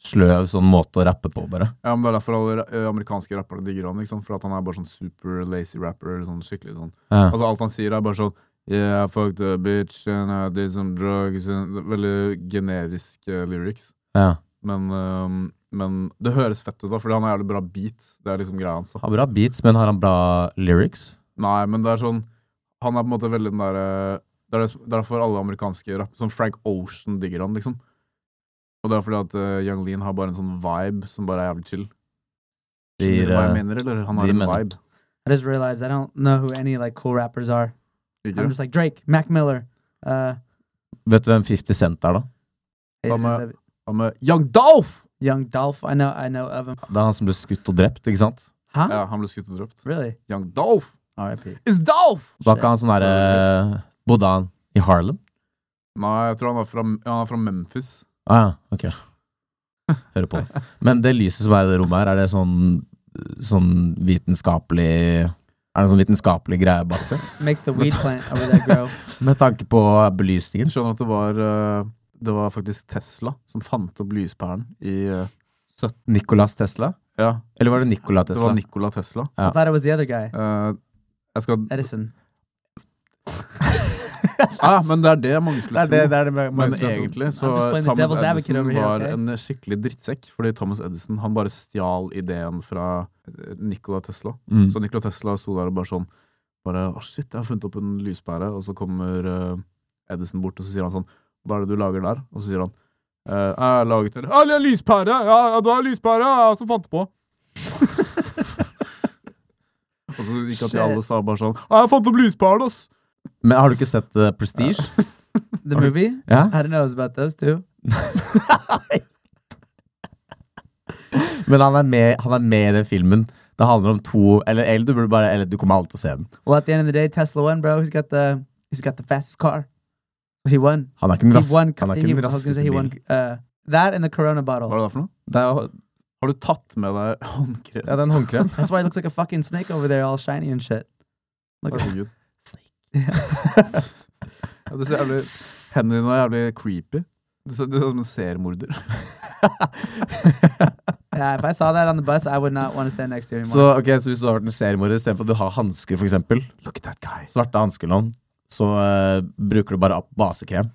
Speaker 2: sløv sånn måte å rappe på, bare.
Speaker 1: ja, men Det er derfor alle ra- eh, amerikanske rappere digger han. Ikke sant? For at han er bare sånn super lazy rapper. eller Sånn skikkelig sånn
Speaker 2: Ja.
Speaker 1: Altså Alt han sier, er bare sånn Yeah, I fucked a bitch and I did some drugs and Veldig generisk eh, lyrics.
Speaker 2: Ja.
Speaker 1: Men, eh, men det høres fett ut, da fordi han har jævlig bra beat. Det er liksom greia hans. da
Speaker 2: Har bra beats, men har han bra lyrics?
Speaker 1: Nei, men det er sånn Han er på en måte veldig den derre Det er det- derfor alle amerikanske rappere Sånn Frank Ocean digger han, liksom. Og det er fordi at eh, Young Lean har bare en sånn vibe som bare er jævlig chill.
Speaker 2: Sier,
Speaker 1: Skjønner du hva jeg
Speaker 2: eh,
Speaker 1: mener, eller? Han har
Speaker 2: de
Speaker 1: en
Speaker 2: mener-
Speaker 1: vibe.
Speaker 3: I just realized I don't know who any like cool rappers are.
Speaker 1: Ikke?
Speaker 3: I'm just like Drake, Mac Miller. Uh,
Speaker 2: Vet du hvem 50 Cent er, da?
Speaker 1: Hva med-
Speaker 3: Adrian Levy-
Speaker 1: Han med Young Dolph!
Speaker 3: Young Dolph. I know. I know of him.
Speaker 2: Det er han som ble skutt og drept, ikke sant?
Speaker 3: Huh?
Speaker 1: Ja, han ble skutt og drept.
Speaker 3: Really?
Speaker 1: Young Dolph!
Speaker 3: R.I.P.
Speaker 1: It's Dolph!
Speaker 2: Var ikke han sånn derre Bodde han i Harlem?
Speaker 1: Nei, jeg tror han er fra, han er fra Memphis.
Speaker 2: Ah, ja, ok. Hører på. Men det lyset som er i det rommet her, er det sånn, sånn vitenskapelig Er det en sånn vitenskapelig greie bak det?
Speaker 3: Makes the weed plant over there grow.
Speaker 2: Med tanke på belysningen.
Speaker 1: Jeg skjønner at det var eh, Det var faktisk Tesla som fant opp lyspæren i eh,
Speaker 2: Nicolas Tesla?
Speaker 1: Ja,
Speaker 2: Eller var det Nicola
Speaker 1: det
Speaker 2: Tesla?
Speaker 1: var Nikola Tesla.
Speaker 2: Ja.
Speaker 3: I thought it was the other guy,
Speaker 1: Eh, jeg skal
Speaker 3: Edison.
Speaker 1: Ja, men det er det mange skulle tro.
Speaker 2: er det med-
Speaker 1: Men
Speaker 2: med-
Speaker 1: egentlig så
Speaker 3: I'm just playing the
Speaker 1: Thomas
Speaker 3: devil's advocate
Speaker 1: Edison
Speaker 3: over here,
Speaker 1: var
Speaker 3: okay?
Speaker 1: en skikkelig drittsekk. Fordi Thomas Edison han bare stjal ideen fra eh, Nikola Tesla.
Speaker 2: Mm.
Speaker 1: Så Nikola Tesla sto der og bare sånn bare, Å, shit, jeg har funnet opp en lyspære. Og så kommer eh, Edison bort og så sier han sånn Hva er det du lager der? Og så sier han eh, Jeg har laget en Ja, det er lyspære! Ja, ja, det er lyspære! Ja, som fant på. og så gikk han til alle og sa bare sånn Ja, jeg fant opp lyspæren, ass!
Speaker 2: Men har du ikke sett eh, Prestige?
Speaker 3: The movie?
Speaker 2: Ja.
Speaker 3: I don't know. It was about those two.
Speaker 2: Men han er, med, han er med i den filmen. Det handler om to Eller, eller du burde bare Eller du kommer alltid til å se den.
Speaker 3: Well, at the end of the day, Tesla won, bro. He's got the he's got the fastest car. He won.
Speaker 2: Han er ikke den,
Speaker 3: He
Speaker 2: rask,
Speaker 3: won.
Speaker 2: han er
Speaker 3: he-
Speaker 2: ikke den
Speaker 3: I was gonna say
Speaker 2: raskeste
Speaker 3: he
Speaker 2: bilen.
Speaker 3: won uh, that and the Corona
Speaker 1: Hva
Speaker 3: bottle.
Speaker 1: er det der for noe?
Speaker 2: Det er, jo-
Speaker 1: Har du tatt med deg håndkrem?
Speaker 2: det er den håndkrem.
Speaker 3: That's why he looks like a fucking snake over there, all shiny and shit. Look at
Speaker 1: Herregud. Ja, du ser jævlig Hendene dine er jævlig creepy. Du ser, du ser ut som en seriemorder.
Speaker 3: yeah, If I saw that on the bus, I would not want to stand next to you anymore.
Speaker 2: Så, ok, så hvis du har vært en seriemorder, istedenfor at du har hansker, for eksempel
Speaker 1: Look at that guy.
Speaker 2: svarte hansker nå, så eh, bruker du bare ap- basekrem.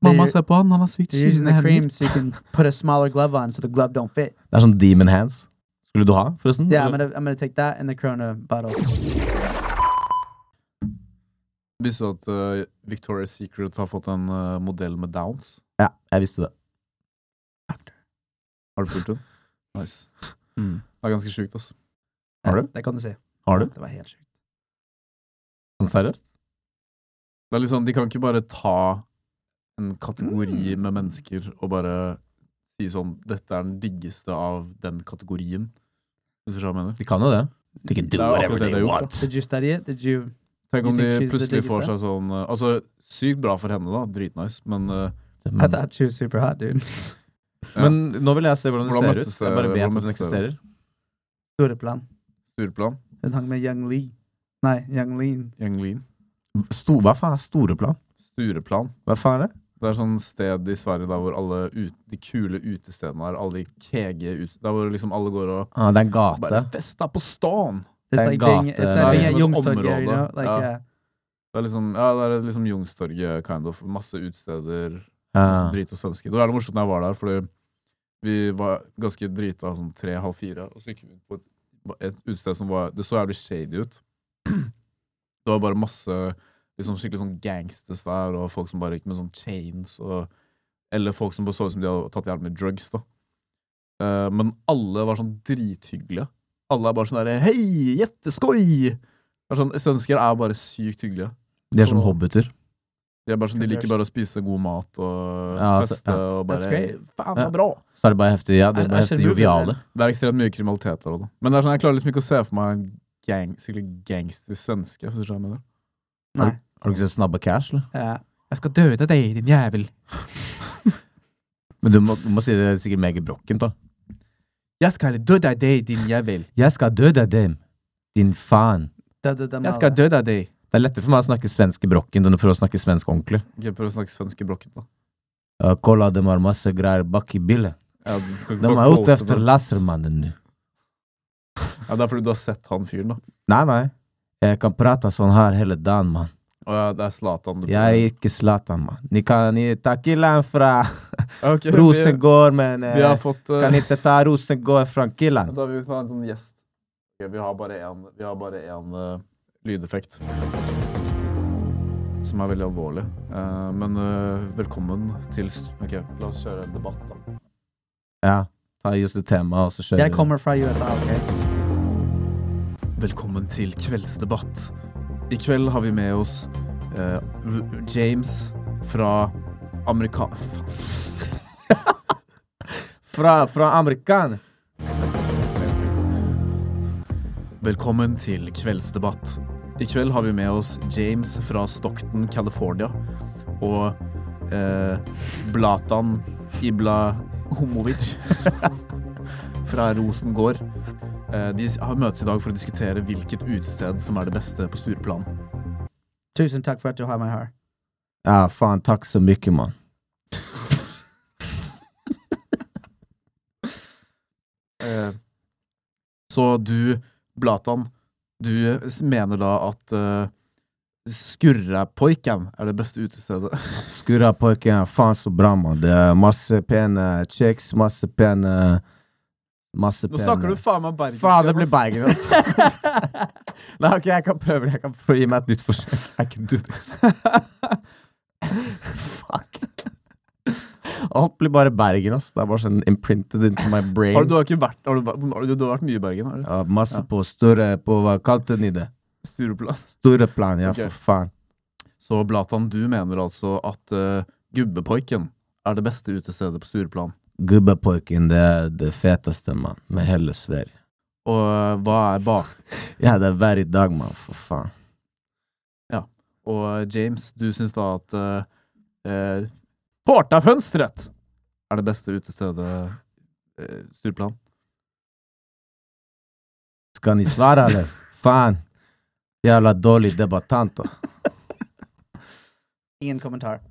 Speaker 1: Mamma, se på han, han har sykt
Speaker 3: You're using
Speaker 1: skinende
Speaker 3: the
Speaker 1: hender.
Speaker 3: cream so you can put a smaller glove on so the glove don't fit.
Speaker 2: Det er sånn demon hands. Skulle du ha, forresten?
Speaker 3: Yeah, I'm gonna I'm gonna take that and the Corona bottle.
Speaker 1: Visste du at eh, Victoria's Secret har fått en eh, modell med downs?
Speaker 2: Ja, jeg visste det.
Speaker 1: Har du fulgt den? Nice. Det er ganske sjukt, ass.
Speaker 2: Har du?
Speaker 3: Yeah, Det kan du si.
Speaker 2: Har du?
Speaker 3: Det var helt sjukt.
Speaker 2: Sånn Seriøst?
Speaker 1: Det er litt sånn, De kan ikke bare ta en kategori med mennesker og bare si sånn Dette er den diggeste av den kategorien. Hvis du skjønner hva jeg mener?
Speaker 2: De kan jo det. De can
Speaker 1: Det er
Speaker 2: do
Speaker 1: jo
Speaker 2: whatever
Speaker 1: akkurat det
Speaker 2: they
Speaker 1: de har gjort,
Speaker 2: want.
Speaker 3: Did you study it? Did you?
Speaker 1: Tenk om
Speaker 3: You
Speaker 1: de
Speaker 3: think she's the
Speaker 1: plutselig får
Speaker 3: diggeste?
Speaker 1: seg sånn eh, Altså, sykt bra for henne, da. Dritnice. Men eh,
Speaker 3: I
Speaker 2: Men,
Speaker 3: thought she was super hot, dude.
Speaker 1: ja,
Speaker 2: men nå vil jeg se hvordan
Speaker 1: Hvordan
Speaker 2: hun ser ut.
Speaker 1: møttes det-
Speaker 2: Jeg bare vet
Speaker 1: hvordan
Speaker 2: at hun
Speaker 1: møttes det?
Speaker 2: eksisterer.
Speaker 3: Store plan.
Speaker 1: Stureplan,
Speaker 3: Hun hang med Young Lee. Nei, Young Lean.
Speaker 1: Gjenglin,
Speaker 2: Sto, hva faen er Storeplan?
Speaker 1: Stureplan.
Speaker 2: Hva faen er det?
Speaker 1: Det er sånn sted i Sverige der hvor alle ut, de kule utestedene er. Alle de kege ut, Der hvor liksom alle går og
Speaker 2: Ah, det er en gate.
Speaker 1: bare Festa på stan!
Speaker 3: It's
Speaker 2: Den
Speaker 3: like being, it's
Speaker 2: gate-
Speaker 3: like being at
Speaker 1: Nei, som et
Speaker 3: Youngstorget, you know?
Speaker 1: område.
Speaker 3: Like,
Speaker 1: Ja.
Speaker 3: yeah.
Speaker 1: Det er liksom, ja, det er liksom Youngstorget, kind of. Masse utesteder.
Speaker 2: Ah.
Speaker 1: masse Drit og svenske. Det var jævlig morsomt når jeg var der, fordi vi var ganske drita sånn tre-halv fire, og så gikk vi på et, et utested som var Det så jævlig shady ut. Det var bare masse liksom, skikkelig sånn gangsters der, og folk som bare gikk med sånn chains, og Eller folk som bare så ut som de hadde tatt jævlig mye drugs, da. Eh, men alle var sånn drithyggelige. Alle er bare sånn derre Hei, jetteskoi! Det er Sånn, svensker er bare sykt hyggelige.
Speaker 2: De er som hobbiter.
Speaker 1: De, er bare sånn, de liker bare å spise god mat og
Speaker 2: Ja, altså,
Speaker 1: feste og
Speaker 3: That's
Speaker 1: bare
Speaker 3: great.
Speaker 1: Faen,
Speaker 2: Ja.
Speaker 1: så bra!
Speaker 2: Så er det bare heftig, ja, de
Speaker 3: Er-
Speaker 2: er bare
Speaker 3: er
Speaker 2: heftig
Speaker 3: sjalu,
Speaker 2: joviale.
Speaker 1: Det er ekstremt mye kriminalitet der òg, da. Men det er sånn, jeg klarer liksom ikke å se for meg en gang, skikkelig gangster svenske. Hvis du skjønner hva jeg mener.
Speaker 3: Nei.
Speaker 2: Har du ikke sett Snabba Cash, eller?
Speaker 3: Ja.
Speaker 2: Jeg skal døde deg, din jævel. Men du må, du må si det sikkert mega brokkent, da.
Speaker 5: Jeg skal døde deg, din jævel.
Speaker 2: Jeg skal døde dem, din faen.
Speaker 3: Da, da, da,
Speaker 5: Jeg skal
Speaker 3: Mala.
Speaker 5: døde deg.
Speaker 2: Det er lettere for meg å snakke svensk i brokken enn å prøve å snakke svensk ordentlig.
Speaker 1: Ok, Prøv å snakke svensk i blokken, da.
Speaker 2: Uh, kolla, de har masse greier bak i bilen.
Speaker 1: Ja, du skal ikke
Speaker 2: De
Speaker 1: bare
Speaker 2: er ute
Speaker 1: quote
Speaker 2: etter
Speaker 1: det.
Speaker 2: lasermannen nå.
Speaker 1: ja, Det er fordi du har sett han fyren, da.
Speaker 2: Nei, nei. Jeg kan prate sånn her hele dagen, mann.
Speaker 1: Å ja, det er Zlatan du
Speaker 2: Jeg er ikke Zlatan, mann. Ni kan ni takile han fra
Speaker 1: Ja, ok, vi-
Speaker 2: Rosengård, men
Speaker 1: Vi har
Speaker 2: eh,
Speaker 1: fått eh,
Speaker 2: kan ikke ta Rosengård fra killen.
Speaker 1: Da vil vi ta en sånn gjest. Ok, vi har bare én Vi har bare én eh, lydeffekt. Som er veldig alvorlig. Eh, men eh, velkommen til st Ok, la oss kjøre en debatt, da.
Speaker 2: Ja. Ta just det temaet, og så kjører
Speaker 3: Jeg kommer fra USA, ok?
Speaker 1: Velkommen til kveldsdebatt. I kveld har vi med oss eh, R- James fra Amerika... Faen,
Speaker 2: Fra, fra Amerikan.
Speaker 1: Velkommen til kveldsdebatt. I kveld har vi med oss James fra Stockton, California. Og eh, Blatan Ibla Homovic fra Rosengård. Eh, de har møtes i dag for å diskutere hvilket utested som er det beste på Stureplan.
Speaker 3: Tusen takk for at du har meg her.
Speaker 2: Ja, faen, takk så mye, mann.
Speaker 1: Eh, så du, Blatan, du s- mener da at eh, Skurrepoiken er det beste utestedet?
Speaker 2: Skurra pojken er faen så bra, mann. Det er masse pene chicks, masse pene Masse
Speaker 1: Nå
Speaker 2: pene
Speaker 1: snakker du faen meg bergensk.
Speaker 2: Faen, det blir
Speaker 1: Jonas.
Speaker 2: Bergen, altså. Nei, ok, jeg kan prøve det. Jeg kan prøve. Gi meg et nytt forsøk. I can do this. Fuck. Alt blir bare Bergen, ass. Det er bare sånn imprinted into my brain.
Speaker 1: Har du, du har ikke vært har du, vært- har du, du har vært mye i Bergen, har du?
Speaker 2: Ja, masse på større På hva kalte ni det?
Speaker 1: Stureplan.
Speaker 2: Store plan, ja,
Speaker 1: Ok.
Speaker 2: for faen.
Speaker 1: Så Blatan, du mener altså at eh, Gubbepoiken er det beste utestedet på Stureplan.
Speaker 2: Gubbepoiken, det er det feteste, mann, med hele Sverige.
Speaker 1: Og eh, hva er bak...
Speaker 2: Ja, det er hver dag, mann, for faen.
Speaker 1: Og eh, James, du syns da at eh, eh, Portafönstret er det beste utestedet eh, Stureplan.
Speaker 2: Skal ni svare, eller? faen! Jævla dårlig debattant. da.
Speaker 3: Ingen kommentar.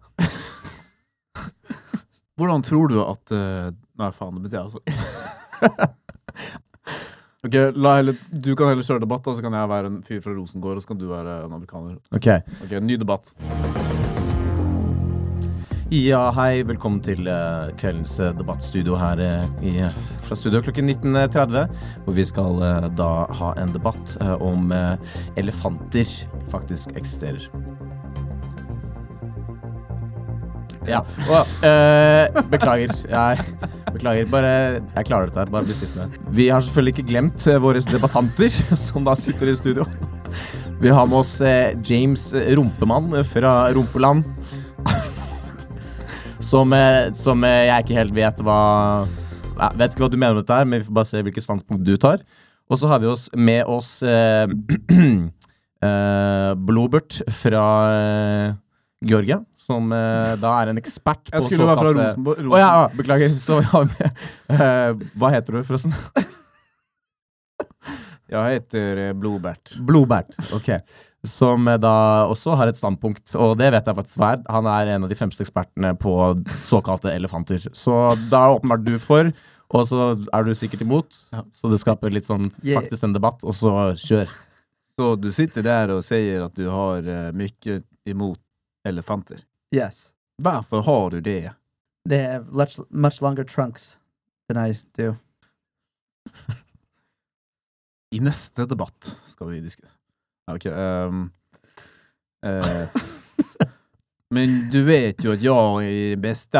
Speaker 1: Hvordan tror du at eh, Nei, faen, det betyr jeg altså. ok, la heller, du kan heller kjøre debatt, da, så kan jeg være en fyr fra Rosengård, og så kan du være en amerikaner.
Speaker 2: Ok.
Speaker 1: Ok, ny debatt.
Speaker 2: Ja, hei. Velkommen til eh, kveldens eh, debattstudio her eh, i, fra studio klokken 19.30. Hvor vi skal eh, da ha en debatt eh, om eh, elefanter faktisk eksisterer. Ja. Og, eh, beklager. Jeg, beklager. Bare Jeg klarer dette. her, Bare bli sittende. Vi har selvfølgelig ikke glemt eh, våre debattanter, som da sitter i studio. Vi har med oss eh, James Rumpemann eh, fra Rumpeland. Som, eh, som eh, jeg ikke helt vet hva Jeg vet ikke hva du mener med dette, her, men vi får bare se hvilket standpunkt du tar. Og så har vi oss med oss eh, eh, Blobert fra eh, Georgia, som eh, da er en ekspert på
Speaker 1: Jeg skulle være fra
Speaker 2: såkalte-
Speaker 1: Rosenborg.
Speaker 2: Å ja, ja, beklager. Så vi har med eh, Hva heter du, forresten?
Speaker 1: Jeg heter eh, Blodbert.
Speaker 2: Blodbært. Ok. Som eh, da også har et standpunkt, og det vet jeg faktisk hva er. Han er en av de fremste ekspertene på såkalte elefanter. Så da er åpenbart du for, og så er du sikkert imot. Så det skaper litt sånn
Speaker 3: Yeah.
Speaker 2: faktisk en debatt, og så kjør.
Speaker 1: Så du sitter der og sier at du har eh, mye imot elefanter.
Speaker 3: Yes.
Speaker 1: Hvorfor har du det?
Speaker 3: They have much, much longer trunks than I do.
Speaker 1: I neste debatt skal vi diskutere. Ja, Ok. ehm, eh, men du vet jo at jeg er den beste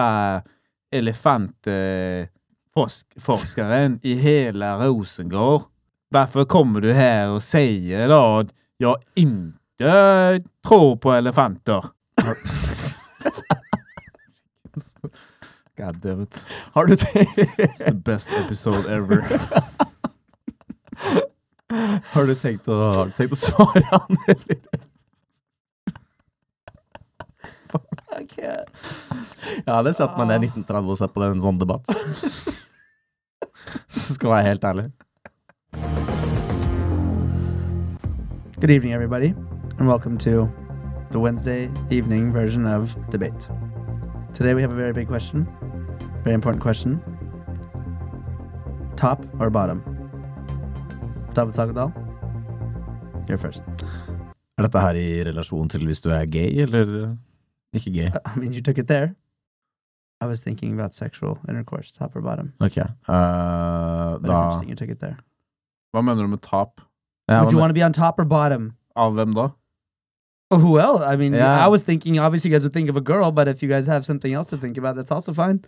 Speaker 1: elefantforskeren i hele Rosengård. Hvorfor kommer du her og sier da at jeg ikke tror på elefanter? God damn it.
Speaker 2: Har du tenkt,
Speaker 1: It's the best episode ever.
Speaker 2: har du tenkt, å, har du tenkt å svare han, eller? Jeg hadde satt meg ned i 1930 og sett på en sånn debatt. Så skal jeg være helt ærlig.
Speaker 3: Good evening, everybody, and welcome to the Wednesday evening version of Debate. Today we have a very big question, very important question. Top or bottom? David Sagadal, you're first.
Speaker 2: Er dette her i relasjon til hvis du er gay, eller ikke gay?
Speaker 3: I mean, you took it there. I was thinking about sexual intercourse, top or bottom.
Speaker 2: Ok. eh,
Speaker 3: But it's
Speaker 2: da
Speaker 3: interesting you took it there.
Speaker 1: Hva mener du med tap?
Speaker 2: Ja,
Speaker 3: Would you
Speaker 2: men-
Speaker 3: want to be on top or bottom?
Speaker 1: Av hvem da?
Speaker 3: Oh, who else? I mean,
Speaker 2: Yeah.
Speaker 3: I was thinking, obviously, you guys would think of a girl, but if you guys have something else to think about, that's also fine.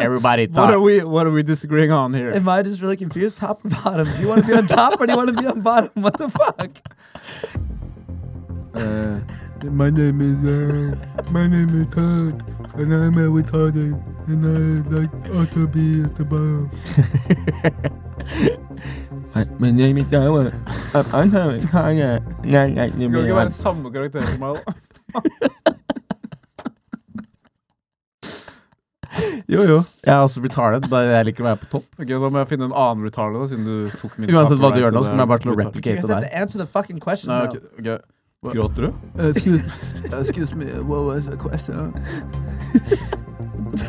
Speaker 2: Everybody
Speaker 1: What are
Speaker 2: thought
Speaker 1: we What are we disagreeing on here?
Speaker 3: Am I just really confused? Top or bottom? Do you want to be on top or do you want to be on bottom? What the fuck?
Speaker 1: my name is uh, My name is Todd, and I'm a retarded, and I like ought to be at the bottom.
Speaker 2: My name is Dawa. I'm Thomas Kanye. Nei, nei, nei,
Speaker 1: Skal
Speaker 2: nei,
Speaker 1: ikke
Speaker 2: nei.
Speaker 1: være samme karakter som meg, da.
Speaker 2: Jo, jo. Jeg er også retarded, bare jeg liker å være på topp.
Speaker 1: Ok, Da må jeg finne en annen retarded, da, siden du tok min
Speaker 2: Uansett hva du
Speaker 1: copyright,
Speaker 2: gjør nå,
Speaker 1: og
Speaker 2: så
Speaker 1: det
Speaker 2: kommer jeg bare til å
Speaker 1: er retarded.
Speaker 3: You guys
Speaker 2: replicate
Speaker 3: have
Speaker 2: det der.
Speaker 3: to answer the fucking question.
Speaker 1: Nei,
Speaker 3: though.
Speaker 1: ok, ok.
Speaker 2: Gråter du?
Speaker 1: Eh, Excuse me, what was the question?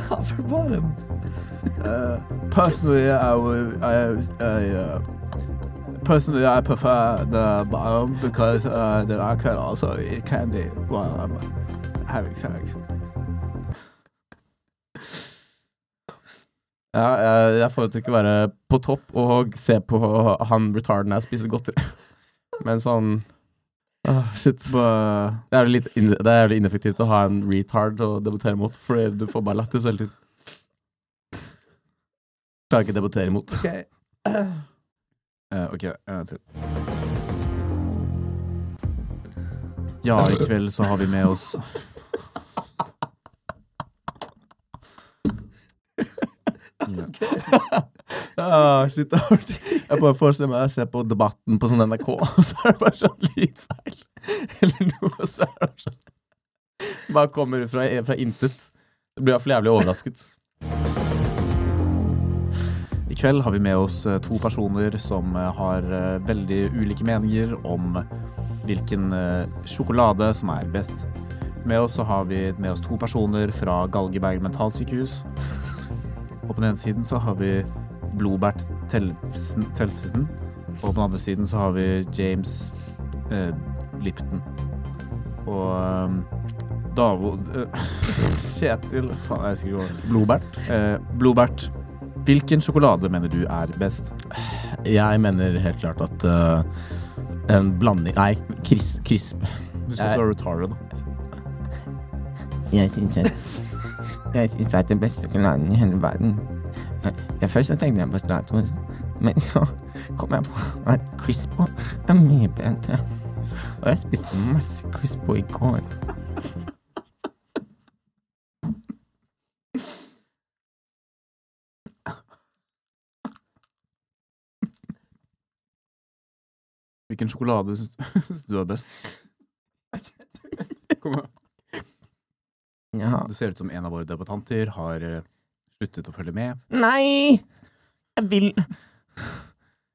Speaker 3: Top or bottom?
Speaker 1: Uh, personally, I would, I, I, uh, personally, I prefer the bottom because uh, then I can also eat candy while I'm having sex.
Speaker 2: Ja, jeg, jeg foretrekker å være på topp og se på han retarden her spise godteri. Mens han Ah, shit.
Speaker 1: But
Speaker 2: sånn, Det er jo litt inn- det er jævlig ineffektivt å ha en retard å debattere mot, for du får bare lættis hele tiden. Klarer ikke å debattere imot.
Speaker 3: Okay.
Speaker 1: Eh, ok, en gang til. Ja, i kveld så har vi med oss
Speaker 2: Ah, shit, det er artig. Jeg bare forestiller meg å se på debatten på sånn NRK, og så er det bare sånn lydfeil. Eller noe, så er det sånn Bare kommer fra, fra intet. Det blir iallfall jævlig overrasket.
Speaker 1: I kveld har vi med oss eh, to personer som eh, har eh, veldig ulike meninger om hvilken eh, sjokolade som er best. Med oss så har vi med oss to personer fra Galgeberg mentalsykehus. Og på den ene siden så har vi Blobert Telfsen, Telfsen og på den andre siden så har vi James eh, Lipton. Og eh, Davo... Eh, Kjetil... Faen, jeg husker ikke hva.
Speaker 2: Blodbært?
Speaker 1: Eh, Blobert, hvilken sjokolade mener du er best?
Speaker 2: Jeg mener helt klart at eh, en blanding Nei, kris, krisp.
Speaker 1: Du
Speaker 2: skal ikke være
Speaker 1: retarded.
Speaker 6: Jeg syns at Jeg syns at den beste sjokoladen i hele verden Jeg- Jeg Først så tenkte jeg på Stratos, men så kom jeg på at Crispo er mye bedre. Og jeg spiste masse Crispo i går.
Speaker 1: Hvilken sjokolade syns du er best? Kom igjen.
Speaker 6: Ja.
Speaker 1: Det ser ut som en av våre debattanter har eh, sluttet å følge med.
Speaker 6: Nei! Jeg vil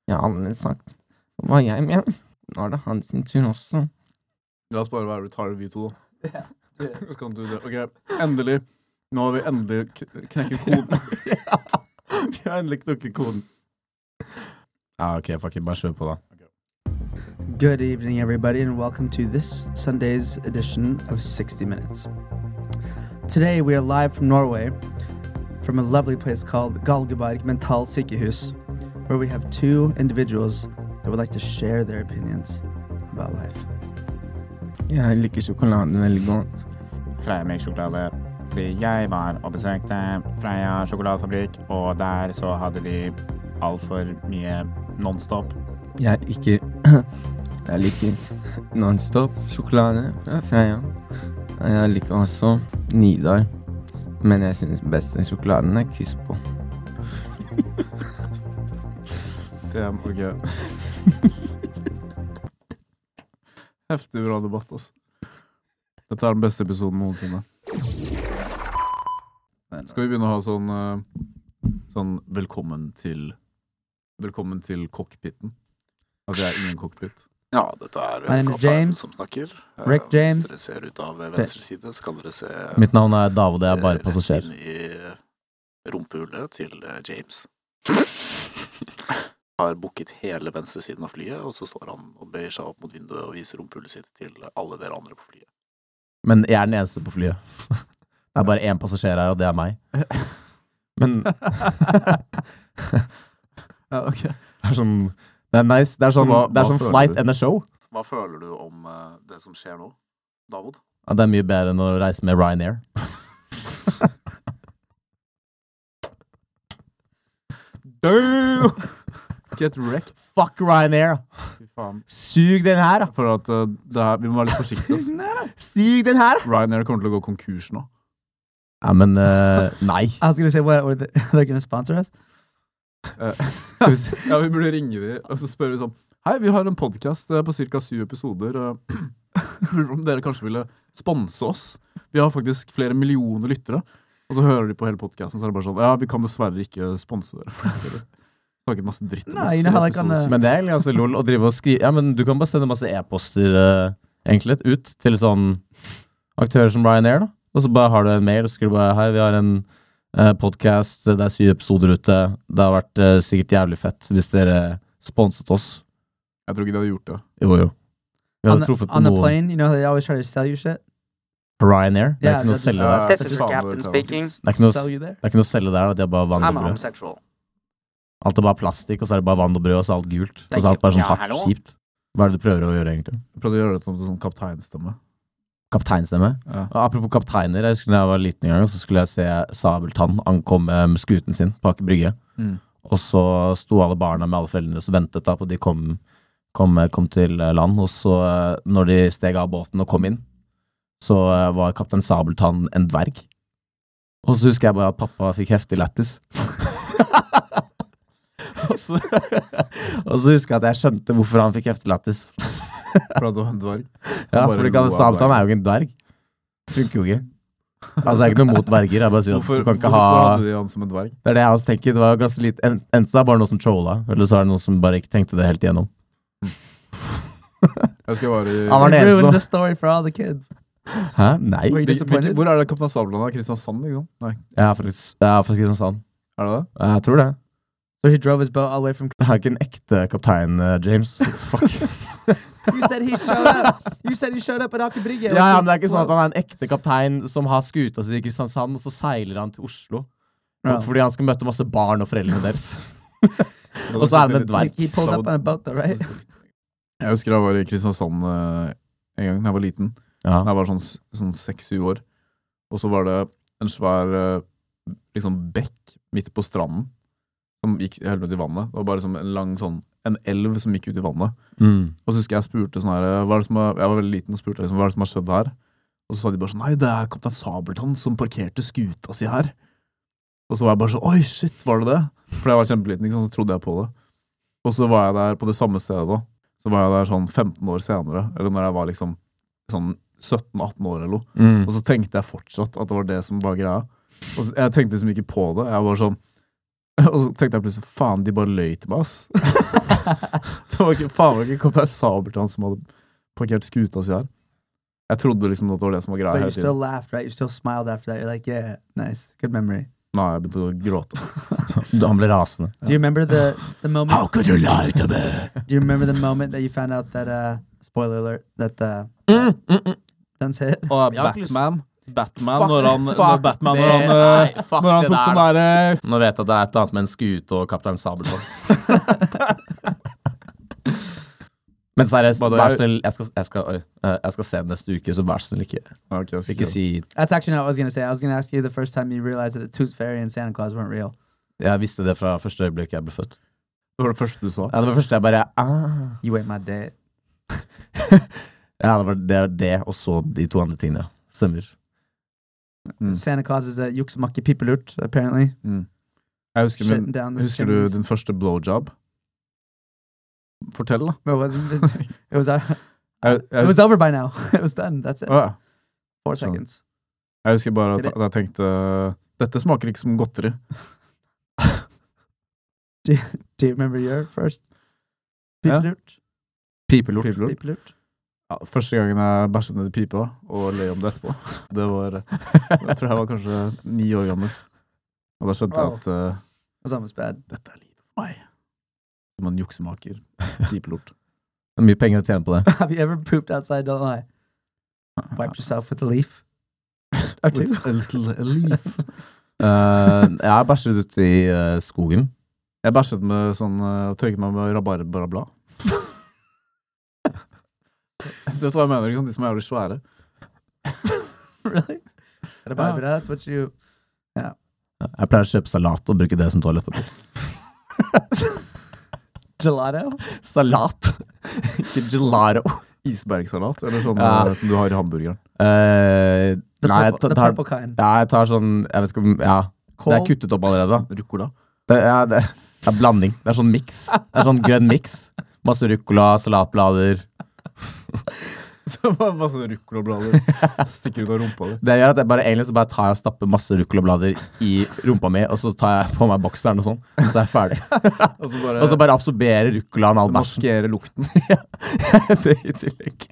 Speaker 6: Jeg har aldri sagt hva jeg mener. Nå er det hans sin tur også.
Speaker 1: La oss bare være retarded, vi to, da. Så kan du det. Ok, endelig. Nå har vi endelig kn- knekket koden.
Speaker 2: Vi har endelig knukket koden. Ja, OK, fucking, bare kjør på, da.
Speaker 3: Good evening, everybody, and welcome to this Sunday's edition of 60 Minutes. Today, we are live from Norway, from a lovely place called Galgeberg Mental Sykehus, where we have two individuals that would like to share their opinions about life.
Speaker 6: Jeg liker sjokoladen veldig godt.
Speaker 7: Freia melksjokolade. Fordi jeg var og besøkte Freia sjokoladefabrikk, og der så hadde de altfor mye Nonstop.
Speaker 6: Jeg liker Jeg liker Nonstop sjokolade fra Freia. Og Jeg liker også Nidar. Men jeg syns best den sjokoladen er Crispo.
Speaker 1: Damn, ok. Heftig bra debatt, altså. Dette er den beste episoden noensinne. Skal vi begynne å ha sånn eh, Sånn velkommen til Velkommen til cockpiten. At det er ingen cockpit.
Speaker 8: Ja, dette er
Speaker 3: My name is
Speaker 8: Kaptein
Speaker 3: James.
Speaker 8: som snakker. Eh,
Speaker 3: Rick James.
Speaker 8: Hvis dere ser ut av venstre side, så kan dere se
Speaker 2: Mitt navn er Davod, jeg er bare
Speaker 8: eh,
Speaker 2: passasjer.
Speaker 8: rett inn i rumpehullet til eh, James. Har booket hele venstre siden av flyet, og så står han og bøyer seg opp mot vinduet og viser rumpehullet sitt til alle dere andre på flyet.
Speaker 2: Men jeg er den eneste på flyet. Det er bare én passasjer her, og det er meg. Men
Speaker 1: Ja, ok.
Speaker 2: det er sånn Det er nice. Det er sånn,
Speaker 1: Så hva-
Speaker 2: det er
Speaker 1: hva
Speaker 2: sånn
Speaker 1: føler
Speaker 2: flight
Speaker 1: du?
Speaker 2: and a show.
Speaker 8: Hva føler du om eh, det som skjer nå, Davod?
Speaker 2: Ja, det er mye bedre enn å reise med Ryanair. Damn!
Speaker 1: Get wrecked.
Speaker 2: Fuck Ryanair!
Speaker 1: Fy faen.
Speaker 2: Sug den her, da!
Speaker 1: For at eh, det her, Vi må være litt forsiktige. ass.
Speaker 2: Sug den her!
Speaker 1: Ryanair kommer til å gå konkurs nå.
Speaker 2: Ja, men eh, Nei.
Speaker 3: I was going to say, what, were they, they're going to sponsor us?
Speaker 2: Skal vi se.
Speaker 1: Ja, Vi burde ringe dem og så spørre sånn Hei, vi har en podkast på ca. syv episoder. eh, Lurer om dere kanskje ville sponse oss? Vi har faktisk flere millioner lyttere. Og så hører de på hele podkasten, så er det bare sånn Ja, vi kan dessverre ikke sponse dere. for dere Snakket masse dritt om
Speaker 3: Nei, eh,
Speaker 1: oss. i
Speaker 3: det har jeg ikke
Speaker 1: episode
Speaker 3: noe-
Speaker 1: syv.»
Speaker 2: Men det er egentlig ganske lol å drive og skrive Ja, men du kan bare sende masse e-poster eh, egentlig ut til sånn aktører som Ryanair, da. Og så bare har du en mail og skriver bare Hei, vi har en uh, podkast, det er syv episoder ute. Det har vært eh, sikkert jævlig fett hvis dere sponset oss.
Speaker 1: Jeg tror ikke de hadde gjort det.
Speaker 2: Jo, jo. Vi
Speaker 3: on
Speaker 2: hadde
Speaker 3: the,
Speaker 2: truffet på
Speaker 3: on the
Speaker 2: noen
Speaker 3: plane, you know, they always try to sell you shit.
Speaker 2: på Ryanair. Det er
Speaker 3: Ja,
Speaker 2: ikke noe
Speaker 3: det
Speaker 2: å
Speaker 3: er-
Speaker 2: selge der.
Speaker 1: This is captain speaking.
Speaker 2: Det er ikke noe,
Speaker 3: sell
Speaker 2: det
Speaker 3: you there.
Speaker 2: er ikke noe å selge der, da. De har bare vann og brød.
Speaker 7: homosexual.
Speaker 2: Alt er bare plastikk, og så er det bare vann og brød, og så er alt gult. Og så er alt bare sånn
Speaker 7: Ja,
Speaker 2: hardt
Speaker 7: hallo?
Speaker 2: kjipt. Hva er det du prøver å gjøre, egentlig?
Speaker 1: Jeg prøvde å gjøre det til en sånn kapteinstemme.
Speaker 2: Kapteinstemme?
Speaker 1: Ja.
Speaker 2: Og Apropos kapteiner, jeg husker da jeg var liten en gang, så skulle jeg se Sabeltann ankomme med skuten sin på Aker Brygge.
Speaker 1: Mm.
Speaker 2: Og så sto alle barna med alle foreldrene og ventet da på at de kom, kom, kom til land. Og så, eh, når de steg av båten og kom inn, så eh, var kaptein Sabeltann en dverg. Og så husker jeg bare at pappa fikk heftig lættis. og, så, og så husker jeg at jeg skjønte hvorfor han fikk heftig lættis.
Speaker 1: For at det var en dverg.
Speaker 2: Ja,
Speaker 1: Bare
Speaker 2: for ikke,
Speaker 1: lo av
Speaker 2: Sabeltann er jo ikke en dverg. Funker jo ikke. Altså, jeg er ikke noe mot dverger. Jeg bare sier at
Speaker 1: Hvorfor,
Speaker 2: du kan ikke
Speaker 1: hvorfor
Speaker 2: ha
Speaker 1: hadde de han som en dverg?
Speaker 2: Det er det jeg også tenker. Det var ganske litt en- Enten så er det bare noen som trolla, eller så er det noen som bare ikke tenkte det helt igjennom.
Speaker 1: Jeg husker jeg var i
Speaker 2: Han var den
Speaker 3: They
Speaker 2: eneste
Speaker 3: ruined
Speaker 2: som
Speaker 3: the story for all the kids.
Speaker 2: Hæ?
Speaker 3: Were
Speaker 2: Nei?
Speaker 3: you
Speaker 1: Hvil- hvilken-
Speaker 3: disappointed?
Speaker 1: Hvor er det Kaptein Sabeltann er? Kristiansand, ikke sant? Nei,
Speaker 2: Jeg er fra, Kris- jeg er fra Kristiansand.
Speaker 1: er det det?
Speaker 2: Jeg tror det.
Speaker 3: So he drove his boat all the way from.
Speaker 2: Jeg er ikke en ekte kaptein, eh, James. What the Fuck.
Speaker 3: You said he showed up. You said he showed up at Akabrige.
Speaker 2: ja, ja, men det er ikke sånn at han er en ekte kaptein som har skuta si i Kristiansand, og så seiler han til Oslo.
Speaker 3: Ja.
Speaker 2: Fordi han skal møte masse barn og foreldrene deres.
Speaker 1: Da
Speaker 2: Og så er han en
Speaker 1: sitter-
Speaker 2: dverg.
Speaker 3: He pulled up on a boat though, right?
Speaker 1: Jeg husker jeg var i Kristiansand eh, en gang da jeg var liten. Da
Speaker 2: Ja.
Speaker 1: jeg var sånn s- sånn seks-syv år. Og så var det en svær eh, liksom bekk midt på stranden som gikk helt ut i vannet. Det var bare som en lang sånn en elv som gikk ut i vannet.
Speaker 2: Mm.
Speaker 1: Og så husker jeg jeg spurte sånn her hva er det som har, Jeg var veldig liten og spurte liksom, hva er det som har skjedd her. Og så sa de bare sånn Nei, det er kaptein Sabeltann som parkerte skuta si her. Og så var jeg bare sånn Oi, shit, var det det? For jeg var kjempeliten, ikke sant, så trodde jeg på det. Og så var jeg der på det samme stedet da. Så var jeg der sånn 15 år senere, eller når jeg var liksom sånn 17-18 år eller noe.
Speaker 2: Mm.
Speaker 1: Og så tenkte jeg fortsatt at det var det som var greia. Og så, jeg tenkte liksom ikke på det. Jeg var sånn Og så tenkte jeg plutselig faen, de bare løy til meg, ass. det var ikke faen var ikke Kaptein Sabeltann som hadde parkert skuta si her. Jeg trodde liksom at det var det som var greia
Speaker 3: But you
Speaker 1: hele
Speaker 3: still
Speaker 1: tiden.
Speaker 3: laughed, right? You still smiled after that. You're like, yeah, nice, good memory.
Speaker 1: Nei, jeg begynte å gråte.
Speaker 2: Han ble rasende.
Speaker 3: Do you remember the the moment?
Speaker 2: could you lie to me?
Speaker 1: Oh.
Speaker 3: Do you remember the moment that you found out that? uh Spoiler alert! That the
Speaker 2: Mm, mm, mm.
Speaker 3: guns hit.
Speaker 1: Og
Speaker 2: Jeg har ikke lyst-
Speaker 1: Batman Batman,
Speaker 2: Fuck-
Speaker 1: når han,
Speaker 2: fuck
Speaker 1: når Batman, når
Speaker 2: det.
Speaker 1: han, eh,
Speaker 2: Nei, fuck
Speaker 1: når han
Speaker 2: det
Speaker 1: tok den øh,
Speaker 2: der.
Speaker 1: derre
Speaker 2: Nå vet jeg at det er et eller annet med en skute og Kaptein Sabeltann. Men seriøst,
Speaker 1: Bare-
Speaker 2: vær så snill, jeg skal, jeg, skal, oi, eh, jeg skal se den neste uke, så vær så snill ikke,
Speaker 1: Ok, jeg skal
Speaker 2: ikke si
Speaker 3: That's actually not what I was gonna say. I was gonna ask you the first time you realized that the Tooth Fairy and Santa Claus weren't real.
Speaker 2: Jeg visste det fra første øyeblikk jeg ble født.
Speaker 1: Det var det første du sa.
Speaker 2: Ja, det var første jeg bare ah.
Speaker 3: You ate my dad.
Speaker 2: Ja, det var det, det, og så de to andre tingene. ja. Stemmer.
Speaker 1: Mm.
Speaker 3: Santa Claus is a yuksmaki pipalut, apparently.
Speaker 1: Jeg husker,
Speaker 3: Shutting
Speaker 1: min,
Speaker 3: down the
Speaker 1: husker du
Speaker 3: chimneys.
Speaker 1: din første blowjob? Fortell, da.
Speaker 3: But it wasn't. It, was. Uh,
Speaker 1: Jeg,
Speaker 3: it
Speaker 1: jeg,
Speaker 3: was over by now. It was done. That's it.
Speaker 1: Å, ja.
Speaker 3: Four
Speaker 1: so-
Speaker 3: seconds.
Speaker 1: Jeg husker bare at
Speaker 3: Eller-
Speaker 1: at jeg tenkte Dette smaker ikke som godteri.
Speaker 3: Do you remember your first
Speaker 1: Yeah.
Speaker 3: pipalut?
Speaker 1: Pipelort. Pipelort.
Speaker 3: Pipalut.
Speaker 1: Ja, første gangen jeg bæsjet ned i pipa og løy om det etterpå. Det var eh, Jeg tror jeg var kanskje ni år gammel. Og da skjønte jeg at eh,
Speaker 3: That's almost bad.
Speaker 1: dette er livet for meg. Som en juksemaker. Pipelort.
Speaker 2: Det er Mye penger å tjene på det.
Speaker 3: Have you ever pooped outside? Don't lie. Wiped yourself with a leaf. Or two.
Speaker 1: Uh-uh. With a little leaf.
Speaker 2: Eh, jeg har bæsjet ute i eh, skogen.
Speaker 1: Jeg bæsjet med sånn eh, og tørket meg med rabarbrablad. Det er hva jeg mener, ikke sant? De som er jævlig svære.
Speaker 3: really?
Speaker 1: Oh.
Speaker 3: Rabarbra, That's what you.
Speaker 2: Jeg pleier å kjøpe salat og bruke det som toalettpapir.
Speaker 3: Gelato?
Speaker 2: Salat! ikke gelato.
Speaker 1: Isbergsalat, eller sånn
Speaker 2: Ja.
Speaker 1: eh, som du har i hamburgeren.
Speaker 2: Eh,
Speaker 3: The,
Speaker 2: nei, jeg
Speaker 3: purple, the
Speaker 2: tar,
Speaker 3: purple kind.
Speaker 2: ja, jeg tar sånn Jeg vet ikke om Ja. Det er
Speaker 3: Cold.
Speaker 2: kuttet opp allerede. da.
Speaker 1: Ruccola.
Speaker 2: Det er, det det er blanding. Det er sånn miks. Det er sånn grønn miks. Masse ruccola, salatblader.
Speaker 1: Det var masse ruccolablader stikker ut av rumpa di.
Speaker 2: Det gjør at jeg bare egentlig så bare tar jeg og stapper masse ruccolablader i rumpa mi, og så tar jeg på meg bokseren og sånn, og så er jeg ferdig.
Speaker 1: Og så bare,
Speaker 2: Og så bare absorberer ruccolaen all bæsjen
Speaker 1: maskere lukten.
Speaker 2: Det i tillegg.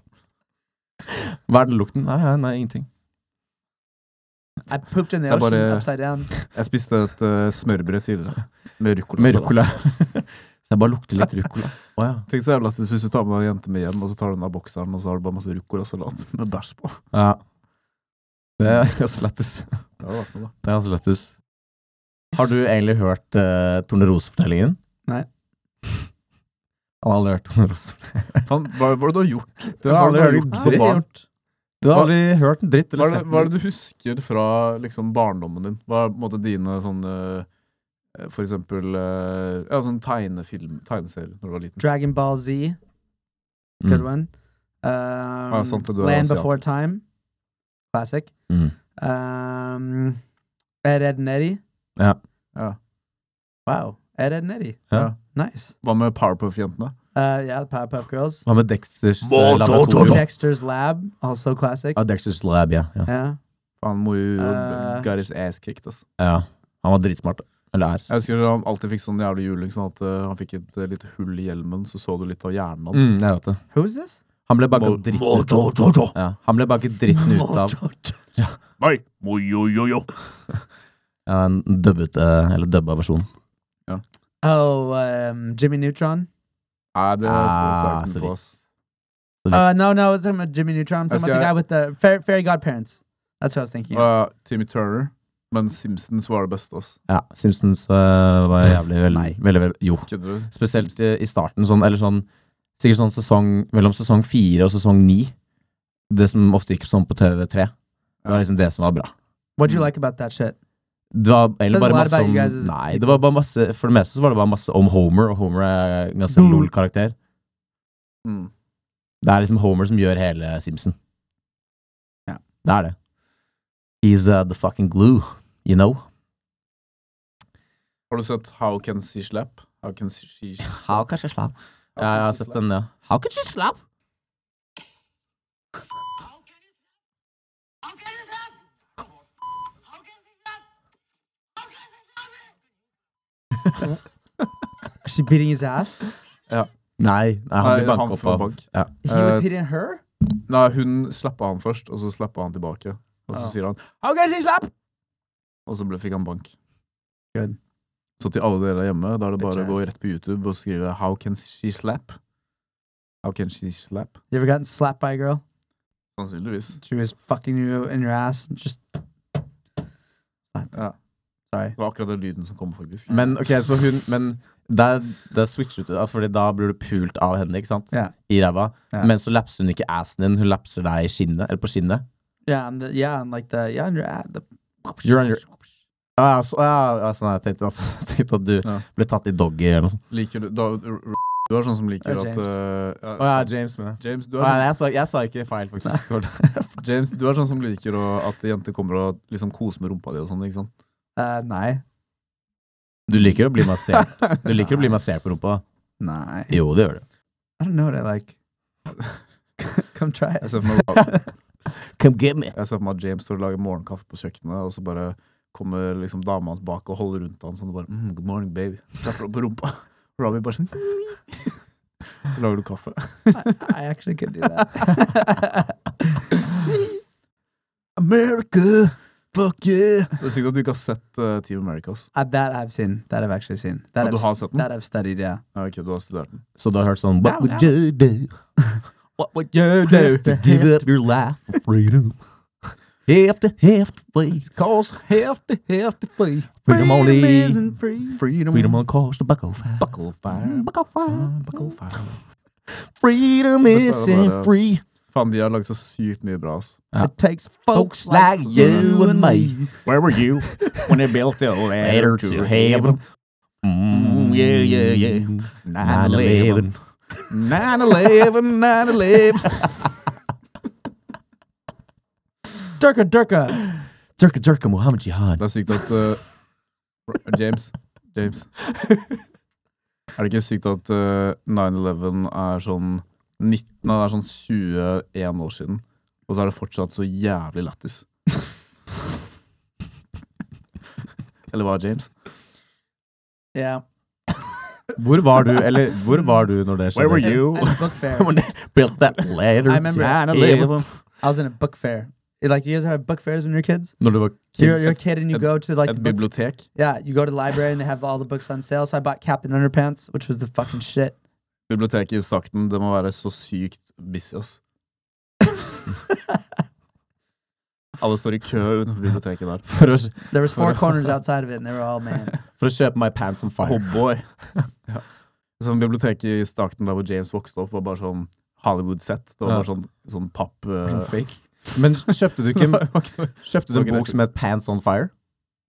Speaker 2: Hva er den lukten? Nei, nei, nei ingenting.
Speaker 3: I pooped in the
Speaker 1: That
Speaker 3: ocean
Speaker 1: about, uh,
Speaker 3: upside down.
Speaker 1: Jeg spiste et eh, smørbrød tidligere med ruccola.
Speaker 2: Med ruccola. Så jeg bare lukter litt ruccola. Å ja.
Speaker 1: Tenk så jævla at Hvis du tar med deg en jente med hjem, og så tar du den av bokseren, og så har du bare masse ruccolasalat med bæsj på.
Speaker 2: ja. Det er ganske lættis.
Speaker 1: Det hadde vært noe, da.
Speaker 2: Det er ganske lættis. eh, Har du egentlig hørt uh, Tornerose-fortellingen?
Speaker 3: Nei.
Speaker 2: Han har aldri hørt om Rosfjord.
Speaker 1: Faen, hva, hva er det du har gjort?
Speaker 2: Du har aldri
Speaker 3: Oh,
Speaker 2: hørt om
Speaker 1: som barn?
Speaker 2: dritt. Du har aldri hørt en dritt
Speaker 1: Hva
Speaker 2: eller
Speaker 1: er, det,
Speaker 2: sett
Speaker 1: hva er
Speaker 2: den.
Speaker 1: det du husker fra liksom, barndommen din? Hva er på en måte dine sånne eh, For eksempel eh, ja, sånn tegnefilm, tegneserie når du var liten.
Speaker 3: Dragon Ball Z, good
Speaker 2: Mm.
Speaker 3: one. Um,
Speaker 1: Ah, sant det, du er
Speaker 3: Land
Speaker 1: asiat.
Speaker 3: Before Time, classic.
Speaker 2: Mm.
Speaker 3: Um, Ed, Ed and Eddie. Oh.
Speaker 2: Ja.
Speaker 1: Ja.
Speaker 3: Wow. Ed, Ed and Eddie.
Speaker 2: Ja.
Speaker 3: Nice.
Speaker 1: Hva med Powerpuff-jentene?
Speaker 3: Uh, yeah, the Powerpuff Girls.
Speaker 2: Hva med Dexters eh,
Speaker 9: Må- da- da-
Speaker 2: laboratorium?
Speaker 3: Dexter's Lab, also classic.
Speaker 2: Ja, Dexters lab, ja. ja.
Speaker 3: Yeah.
Speaker 1: Han må jo
Speaker 3: Eh.
Speaker 1: got his ass kicked, ass.
Speaker 2: ja. Han var dritsmart. Eller er.
Speaker 1: Jeg husker han alltid fikk sånn jævlig juling, sånn at eh, han fikk et eh, lite hull i hjelmen, så så du litt av hjernen
Speaker 2: Mm,
Speaker 1: hans.
Speaker 2: jeg vet det.
Speaker 3: Who is this?
Speaker 2: Han ble bagga
Speaker 1: Må-
Speaker 2: dritten ut av. Ja. Han ble bagget dritten ut av
Speaker 9: Nei! Mojojojo!
Speaker 2: ja, en dubbet, eh, eller dubba versjon.
Speaker 3: Oh, um, Jimmy Neutron.
Speaker 1: Nei, det så
Speaker 2: Ah,
Speaker 1: jeg
Speaker 2: så
Speaker 1: ikke noe på, ass.
Speaker 3: Uh, no, no, I was talking about Jimmy Neutron. I'm talking about the
Speaker 1: That's
Speaker 3: guy with the fairy, fairy godparents. That's what I was thinking. of.
Speaker 1: Og, eh, Timmy Turner. Men Simpsons var det beste, altså. ass.
Speaker 2: Ja, Simpsons eh, var jævlig veldig, veldig, veldig Jo.
Speaker 1: Kødder du?
Speaker 2: Spesielt i i starten, sånn, eller sånn Sikkert sånn sesong mellom sesong fire og sesong ni. Det som ofte gikk sånn på TV3. Det var liksom det som var bra.
Speaker 3: What'd you like about that shit?
Speaker 2: Det var egentlig
Speaker 3: Says a
Speaker 2: bare
Speaker 3: lot
Speaker 2: masse
Speaker 3: about
Speaker 2: om
Speaker 3: you guys as
Speaker 2: Nei,
Speaker 3: people.
Speaker 2: det var bare masse For det meste så var det bare masse om Homer, og Homer er en ganske
Speaker 3: Boo.
Speaker 2: lol-karakter.
Speaker 1: Mm.
Speaker 2: Det er liksom Homer som gjør hele Simpson.
Speaker 3: Ja.
Speaker 2: Det er det. He's uh, the fucking glue, you know.
Speaker 1: Har du sett How Can She Slap? How Can She, she
Speaker 2: How can she slap? Ja, jeg har sett den, ja. How can she slap?
Speaker 3: Is she beating his ass?
Speaker 2: Nei, nei han
Speaker 1: Nei,
Speaker 2: blir banka
Speaker 1: han
Speaker 2: opp
Speaker 1: får
Speaker 2: av
Speaker 1: bank.
Speaker 2: ja.
Speaker 3: He
Speaker 1: Uh,
Speaker 3: was hitting her?
Speaker 1: Nei, hun slappa han først, og så slappa han tilbake. Og så
Speaker 3: Ja.
Speaker 1: sier han 'How can she slap?' Og så ble, fikk han bank.
Speaker 3: Good.
Speaker 1: Så til alle dere der hjemme, da er det bare å
Speaker 3: Bitch
Speaker 1: gå
Speaker 3: ass.
Speaker 1: rett på YouTube og skrive 'How can she slap?' How can she slap?
Speaker 3: You ever gotten slapped by a girl?
Speaker 1: Sannsynligvis.
Speaker 3: She was fucking you in your ass. and Just
Speaker 2: Oh.
Speaker 1: Ja.
Speaker 3: sorry.
Speaker 1: Det var akkurat den lyden som kom, faktisk.
Speaker 2: Men ok, så hun Men der, der switchet du, da, Fordi da blir du pult av henne, ikke sant?
Speaker 3: Ja.
Speaker 2: I ræva.
Speaker 3: Ja.
Speaker 2: Men så lapser hun ikke assen din, hun lapser deg i skinnet, eller på skinnet.
Speaker 3: Yeah, I'm the yeah, I'm like the yeah, on your ass. The
Speaker 2: You're on your- Ja, ja, så, ja, ja, sånn, jeg tenkte, altså, jeg tenkte at du
Speaker 1: Ja.
Speaker 2: ble tatt i doggy eller noe sånt.
Speaker 1: Liker du da, Du er sånn som liker
Speaker 3: Ja,
Speaker 1: at
Speaker 3: James.
Speaker 1: eh, ja,
Speaker 2: Å ja, James, mener jeg.
Speaker 1: James, du er, sånn-
Speaker 2: Nei, jeg sa, jeg sa ikke feil, faktisk.
Speaker 1: James, du er sånn som liker å, at jenter kommer og liksom koser med rumpa di og sånn, ikke sant?
Speaker 3: Uh, nah,
Speaker 2: Du liker å bli massert Du liker å bli massert på rumpa?
Speaker 3: nah.
Speaker 2: Jo, det gjør du.
Speaker 3: I don't know what I like. Come try
Speaker 1: Jeg
Speaker 3: it.
Speaker 1: ser for meg
Speaker 2: Come get me.
Speaker 1: Jeg ser for meg at James står og lager morgenkaffe på kjøkkenet, og så bare kommer liksom dama hans bak og holder rundt han sånn og bare mm, 'Good morning, baby'. Snapper opp på rumpa. Robbie bare sånn Så lager du kaffe.
Speaker 3: I, I actually could do that.
Speaker 1: America! Fuck yeah! Det er sykt at du ikke har sett eh, Team Americas.
Speaker 3: uh, that I've seen. That I've actually seen. That
Speaker 1: Oh,
Speaker 3: I've,
Speaker 1: du har
Speaker 3: s-
Speaker 1: sett den?
Speaker 3: that I've studied. Yeah.
Speaker 1: Nei, ok, du har studert den.
Speaker 2: Så du har hørt sånn What would you do? What would you do? To give up your life for freedom. Hefty, hefty free. Cost hefty, hefty free. Freedom only.
Speaker 3: isn't free.
Speaker 1: Freedom,
Speaker 2: Freedom on cost a buckle fire. Mm,
Speaker 1: buckle fire.
Speaker 2: Buckle fire. Mm.
Speaker 1: Buckle fire.
Speaker 2: Freedom
Speaker 1: Det sa jeg
Speaker 2: isn't
Speaker 1: bare.
Speaker 2: free.
Speaker 1: Faen, de har lagd så sykt mye bra, ass.
Speaker 3: It takes folks
Speaker 2: Folks like you and me.
Speaker 10: Where were you when they built the ladder
Speaker 2: Later
Speaker 10: to
Speaker 2: to
Speaker 10: heaven?
Speaker 2: heaven. Mm, yeah, yeah, yeah.
Speaker 10: 9-11.
Speaker 1: 9-11, 9-11.
Speaker 3: Durka Durka.
Speaker 2: Turka, turka, Mohammed Jihad.
Speaker 1: Det er sykt at eh, James James. Er det ikke sykt at eh, 9-11 er sånn 19, nei, det er sånn 21 år siden, og så er det fortsatt så jævlig lættis? Eller hva, James?
Speaker 3: Yeah.
Speaker 2: Hvor var du, eller hvor var du når det
Speaker 10: Where
Speaker 2: skjedde?
Speaker 10: were you?
Speaker 3: At a book fair.
Speaker 2: When they built that ladder
Speaker 3: I remember-
Speaker 2: to
Speaker 3: Man,
Speaker 2: heaven.
Speaker 3: I was in a book fair. You- Like you guys have book fairs when you're kids.
Speaker 2: Når du var
Speaker 3: You're,
Speaker 2: kids.
Speaker 3: you're a kid and you
Speaker 1: At-
Speaker 3: go to like
Speaker 1: Et
Speaker 3: the book
Speaker 1: bibliotek?
Speaker 3: Yeah, you go to the library and they have all the books on sale. So I bought Captain Underpants, which was the fucking shit.
Speaker 1: Biblioteket i Stakten, det må være så sykt busy, ass. Alle står i kø utenfor biblioteket der.
Speaker 2: For å,
Speaker 3: There was four corners outside of it, and they were all man.
Speaker 2: for å kjøpe My Pants on Fire.
Speaker 1: Oh boy. sånn biblioteket i Stockton, der hvor James vokste opp, var bare sånn Hollywood-sett. Det var bare sånn, sånn papp... eh,
Speaker 2: Fake. Men kjøpte du ikke en, kjøpte
Speaker 1: Det
Speaker 2: du en
Speaker 1: var ikke
Speaker 2: bok som het Pants on Fire?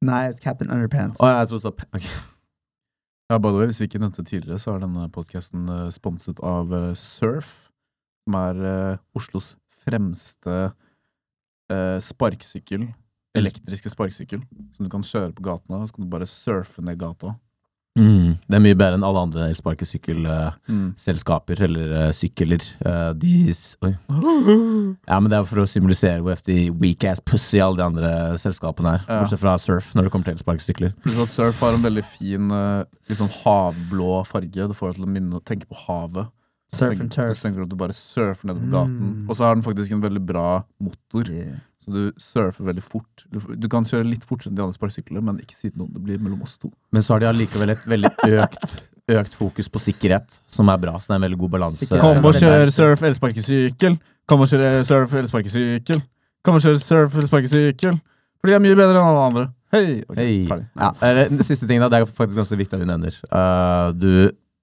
Speaker 3: Nah, it's Captain Underpants.
Speaker 1: Oh,
Speaker 2: Å, jeg trodde det var ok.
Speaker 1: Ja, by the way, Hvis vi ikke nevnte det tidligere, så er denne podkasten sponset av eh, Surf, som er eh, Oslos fremste eh, sparkesykkel. Elektriske sparkesykkel som du kan kjøre på gatene, og så kan du bare surfe ned gata.
Speaker 2: Mm, det er mye bedre enn alle andre elsparkesykkelselskaper eller eh, sykler. Eh, de s- Oi. Ja, men det er for å symbolisere hvor heftig weak ass pussy alle de andre selskapene er.
Speaker 1: Ja.
Speaker 2: Bortsett fra Surf, når det kommer til elsparkesykler.
Speaker 1: Pluss at surf har en veldig fin eh, litt sånn havblå farge. Det får deg til å minne, tenke på havet.
Speaker 3: Surf and
Speaker 1: Tenk-
Speaker 3: turf.
Speaker 1: Så tenker du at du bare surfer nedover gaten.
Speaker 3: Mm.
Speaker 1: Og så har den faktisk en veldig bra motor,
Speaker 3: Yeah.
Speaker 1: så du surfer veldig fort. Du, f- du kan kjøre litt fortere enn de andre sparkesyklene, men ikke si til noen. Det blir mellom oss to.
Speaker 2: Men så har de allikevel et veldig økt, økt fokus på sikkerhet, som er bra. Så det er en veldig god balanse.
Speaker 3: Sikkerhet. Kom og kjør
Speaker 1: surf elsparkesykkel. Kom og kjør eh, surf elsparkesykkel. Kom og kjør surf elsparkesykkel. For de er mye bedre enn alle andre. Hei!
Speaker 2: Hei. Ja, eh, den siste tingen da, det er faktisk ganske viktig at vi nevner. Eh, du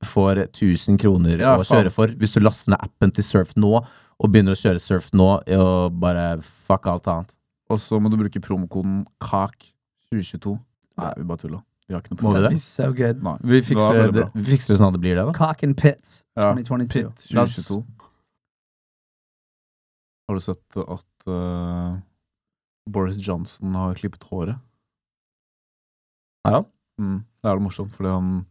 Speaker 2: får 1000 kroner
Speaker 1: Ja,
Speaker 2: å
Speaker 1: faen.
Speaker 2: kjøre for hvis du laster ned appen til Surf nå, og begynner å kjøre Surf nå, og bare fuck alt annet.
Speaker 1: Og så må du bruke promokoden KAK2022. Nei, vi bare tulla. Vi har ikke noe
Speaker 2: Må vi
Speaker 1: promo.
Speaker 2: det?
Speaker 3: So good.
Speaker 1: Nei.
Speaker 2: Vi
Speaker 1: Da
Speaker 2: fikser
Speaker 1: blir det
Speaker 2: det,
Speaker 1: bra.
Speaker 2: vi fikser det sånn at det blir det, da.
Speaker 3: Cock and pits.
Speaker 1: Ja.
Speaker 3: 2022.
Speaker 1: Pitt
Speaker 2: La oss-
Speaker 1: 2022. Har du sett at eh, Boris Johnson har klippet håret?
Speaker 2: Har han?
Speaker 1: Mm, det er det morsomt, fordi han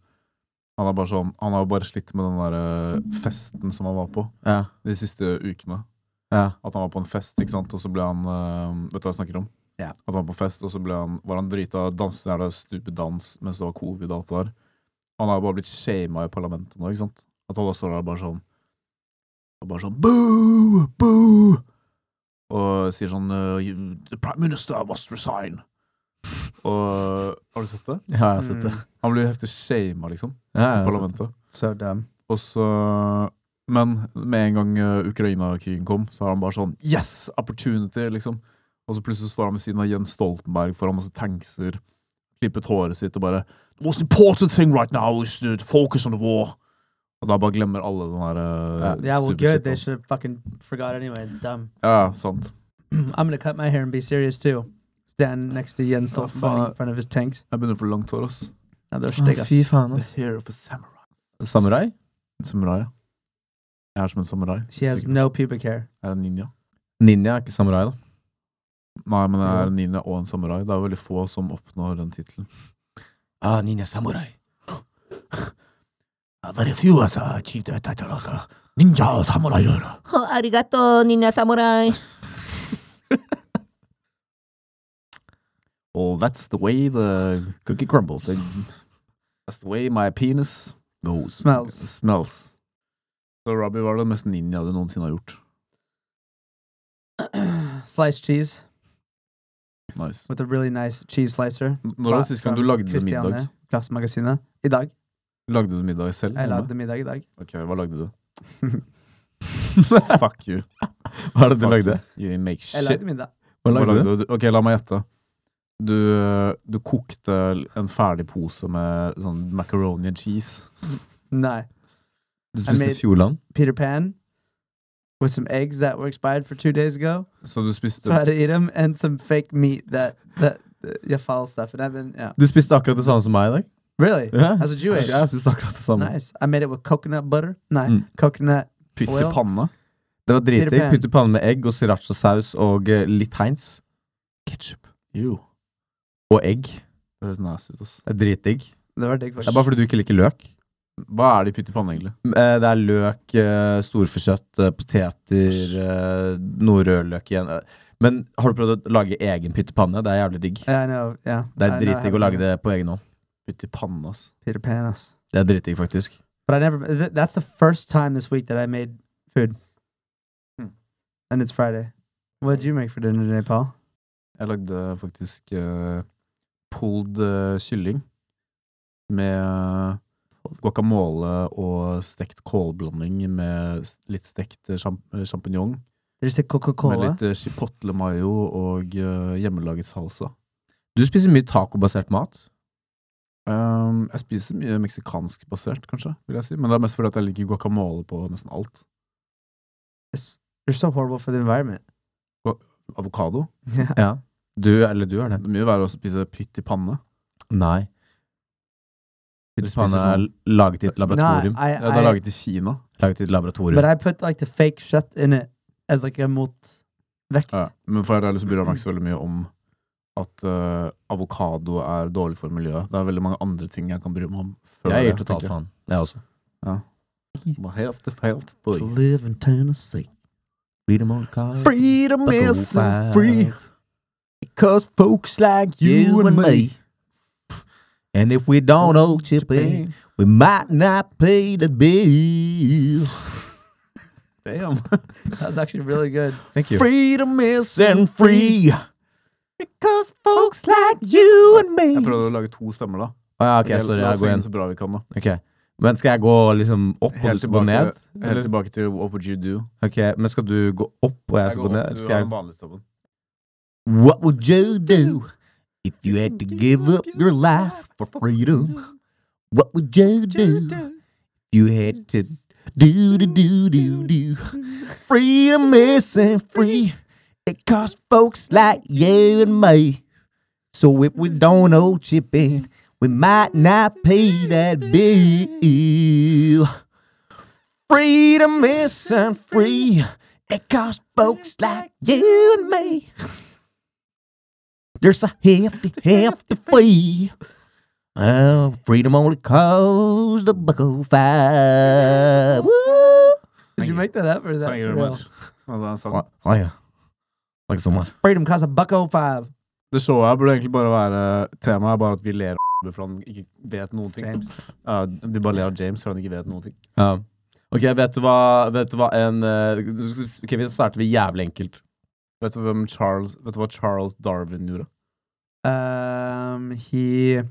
Speaker 1: han er bare sånn, han har bare slitt med den der eh, festen som han var på
Speaker 2: Ja.
Speaker 1: de siste ukene.
Speaker 2: Ja.
Speaker 1: At han var på en fest, ikke sant, og så ble han eh, Vet du hva jeg snakker om?
Speaker 3: Ja.
Speaker 1: At han var på fest, og så ble han, var han drita, danset der det stupid dans mens det var covid og alt det der. Han har jo bare blitt shama i parlamentet nå, ikke sant. At alle står der bare sånn og bare sånn boo, boo, og sier sånn eh, you- The prime minister must resign. Og Har du sett det?
Speaker 2: ja, jeg har sett
Speaker 3: Mm.
Speaker 2: det.
Speaker 1: Han blir jo heftig shama, liksom, i
Speaker 2: Ja, jeg har sett det.
Speaker 1: parlamentet.
Speaker 3: So dumb.
Speaker 1: Og så Men med en gang eh, Ukraina-krigen kom, så har han bare sånn Yes! Opportunity! liksom. Og så plutselig står han ved siden av Jens Stoltenberg foran masse tankser, klippet håret sitt og bare The most important thing right now is to focus on the war. Og da bare glemmer alle den der eh,
Speaker 3: Yeah, well,
Speaker 1: stupid
Speaker 3: good.
Speaker 1: shit,
Speaker 3: They
Speaker 1: altså.
Speaker 3: should have fucking forgot anyway. Dumb.
Speaker 1: Ja, sant.
Speaker 3: I'm gonna cut my hair and be serious too. Stand next to Jens
Speaker 1: Oh,
Speaker 3: Stoltenberg in
Speaker 1: fuck. Oh,
Speaker 3: front of his tanks.
Speaker 1: Jeg begynner å få langt hår, ass.
Speaker 3: Now they're stig us.
Speaker 2: Fy faen,
Speaker 1: The
Speaker 2: ass.
Speaker 1: hair of a samurai.
Speaker 2: Samurai?
Speaker 1: En samurai, ja. Jeg er som en samurai.
Speaker 3: She has
Speaker 1: Sikkert.
Speaker 3: no pubic hair.
Speaker 1: Jeg er en ninja.
Speaker 2: Ninja er ikke samurai, da.
Speaker 1: Nei, men jeg er en ninja og en samurai. Det er veldig få som oppnår den tittelen.
Speaker 2: Ah, ninja samurai.
Speaker 11: Ah, Very few have achieved the title of uh, ninja or samurai.
Speaker 6: Arigato, ninja samurai.
Speaker 1: Well, that's the way the
Speaker 2: Cookie crumbles.
Speaker 1: the- That's the way my penis goes.
Speaker 3: Smells.
Speaker 1: Smells. Så Robbie var det mest ninja du noensinne har gjort.
Speaker 3: Sliced cheese
Speaker 1: Nice.
Speaker 3: with a really nice cheese slicer.
Speaker 1: Når var det sist gang du lagde middag?
Speaker 3: Klassemagasinet. I dag.
Speaker 1: Lagde du middag selv?
Speaker 3: Jeg
Speaker 1: hjemme?
Speaker 3: lagde middag i dag.
Speaker 1: Ok, hva lagde du? Fuck you.
Speaker 2: Hva er det du
Speaker 1: Fuck
Speaker 2: lagde?
Speaker 1: You make
Speaker 3: Jeg
Speaker 1: shit.
Speaker 3: lagde middag.
Speaker 2: Hva lagde du?
Speaker 1: du? Ok, la meg gjette. Du, du kokte en ferdig pose med sånn macaroni and cheese.
Speaker 3: No.
Speaker 2: Du
Speaker 3: I
Speaker 2: spiste
Speaker 3: made-
Speaker 2: Fjordland?
Speaker 3: Peter Pan with some eggs that were expired for two days ago.
Speaker 1: Så du
Speaker 3: So I
Speaker 1: spiste
Speaker 3: had to eat them and some fake meat that, that, uh, yeah, foul stuff. And I've been, yeah.
Speaker 2: Du spiste akkurat det samme som meg i dag.
Speaker 3: Really?
Speaker 2: Ja.
Speaker 3: As a Jewish.
Speaker 2: Ja, Jeg spiste akkurat det samme.
Speaker 3: Nice. I made it with coconut butter. No,
Speaker 2: Mm.
Speaker 3: coconut.
Speaker 1: pytt i
Speaker 3: Oil.
Speaker 1: panne?
Speaker 2: Det var dritdigg.
Speaker 3: Peter Pan.
Speaker 2: Putt i panne med egg og sriracha-saus og eh, litt Heinz. Ketsjup.
Speaker 1: Jo.
Speaker 2: Og egg.
Speaker 1: Det høres nasty ut, ass.
Speaker 2: Det er dritdigg.
Speaker 3: Det var digg,
Speaker 2: Det er
Speaker 3: faktisk.
Speaker 2: bare fordi du ikke liker løk.
Speaker 1: Hva er det i pytt i panne, egentlig?
Speaker 2: Eh, Det er løk, eh, storfekjøtt, eh, poteter, eh, noe rødløk igjen. eh. Men har du prøvd å lage egen pyttepanne? Det er jævlig digg.
Speaker 3: Yeah, I know. Yeah.
Speaker 2: Det
Speaker 3: I
Speaker 2: er
Speaker 3: know I
Speaker 2: dritdigg å
Speaker 3: haven't
Speaker 2: lage
Speaker 3: been
Speaker 2: det på egen hånd.
Speaker 1: Pytt i panne, ass.
Speaker 3: a Peter Pan. Us.
Speaker 2: Det er dritdigg, faktisk.
Speaker 3: But I never, th- that's the first time this week that I made food.
Speaker 1: Hmm.
Speaker 3: And it's Friday. What did you make for dinner today, Paul?
Speaker 1: Jeg lagde faktisk eh, pulled eh, kylling med guacamole og stekt kålblanding med s- litt stekt eh, sjam- eh, sjampinjong.
Speaker 3: Did you say Coca
Speaker 1: Med
Speaker 3: Cola?
Speaker 1: litt eh, chipotle mayo og eh, hjemmelaget salsa.
Speaker 2: Du spiser mye tacobasert mat.
Speaker 1: Um, jeg spiser mye meksikansk basert, kanskje, vil jeg si. Men det er mest fordi at jeg liker guacamole på nesten alt.
Speaker 3: It's, they're so horrible for the environment.
Speaker 1: Avokado.
Speaker 3: Yeah.
Speaker 2: Ja. Du, eller du er
Speaker 1: Det
Speaker 2: det.
Speaker 1: er mye verre å spise pytt i panne.
Speaker 2: Nei.
Speaker 1: Dere spiser
Speaker 2: Pyttipanne er laget i et
Speaker 3: No,
Speaker 2: laboratorium.
Speaker 3: I,
Speaker 1: Ja, det er
Speaker 3: I-
Speaker 1: laget i Kina.
Speaker 2: Laget i et
Speaker 3: but
Speaker 2: laboratorium.
Speaker 3: I put like the fake shit in it as like a mot vekt.
Speaker 1: Ja, men for ærlig så bryr jeg meg ikke så veldig mye om at eh, avokado er dårlig for miljøet. Det er veldig mange andre ting jeg kan bry meg om. før
Speaker 2: Jeg
Speaker 1: det,
Speaker 2: gir totalt
Speaker 1: tenker jeg.
Speaker 2: faen. Jeg også.
Speaker 1: Well, Helt, helt, boy.
Speaker 3: To live in Tennessee.
Speaker 2: Freedom on cars.
Speaker 1: Freedom
Speaker 2: is so free.
Speaker 1: because folks like
Speaker 2: You and me. And if we don't know Chippy, we might not pay the bill.
Speaker 3: Damn. that was actually really good.
Speaker 2: Thank you.
Speaker 1: Freedom is
Speaker 2: and free. Because folks like you and
Speaker 1: Jeg
Speaker 2: me.
Speaker 1: prøvde å lage to stemmer, da.
Speaker 2: Ah, ok, sorry.
Speaker 1: La
Speaker 2: Jeg
Speaker 1: oss
Speaker 2: går
Speaker 1: synge
Speaker 2: igjen.
Speaker 1: så bra vi kan, da.
Speaker 2: Ok. Men skal jeg gå liksom opp og
Speaker 1: Helt
Speaker 2: du skal gå
Speaker 1: tilbake,
Speaker 2: ned?
Speaker 1: helt tilbake til What Would You Do.
Speaker 2: Ok, Men skal du gå opp og jeg skal gå ned? eller
Speaker 1: du
Speaker 2: Skal
Speaker 1: har
Speaker 2: jeg...
Speaker 1: den vanlige stemmen.
Speaker 2: What would you do if you had to give up your life for freedom? What would you do if you had to do do do do do? Freedom isn't free. It costs folks like you and me. So if we don't know chip in, we might not pay that bill. Freedom isn't free. It costs folks like you and me. There's a hefty, hefty fee. Oh, freedom only costs a buck oh five. Woo!
Speaker 3: Did you make that up or is that
Speaker 1: Thank you
Speaker 3: for
Speaker 1: very
Speaker 3: real?
Speaker 1: much. Ja, det er en sang.
Speaker 2: Oh, yeah. Thank you so much.
Speaker 3: Freedom costs a buck oh five.
Speaker 1: Det showet her burde egentlig bare være Temaet er bare at vi ler av for han ikke vet noen ting. Ja, vi bare ler av James for han ikke vet noen ting.
Speaker 2: Ja. Ok, vet du hva, vet du hva en eh, Ok, vi starter vi jævlig enkelt.
Speaker 1: Vet du, hvem Charles, vet du hva Charles Darwin gjorde?
Speaker 3: Um, he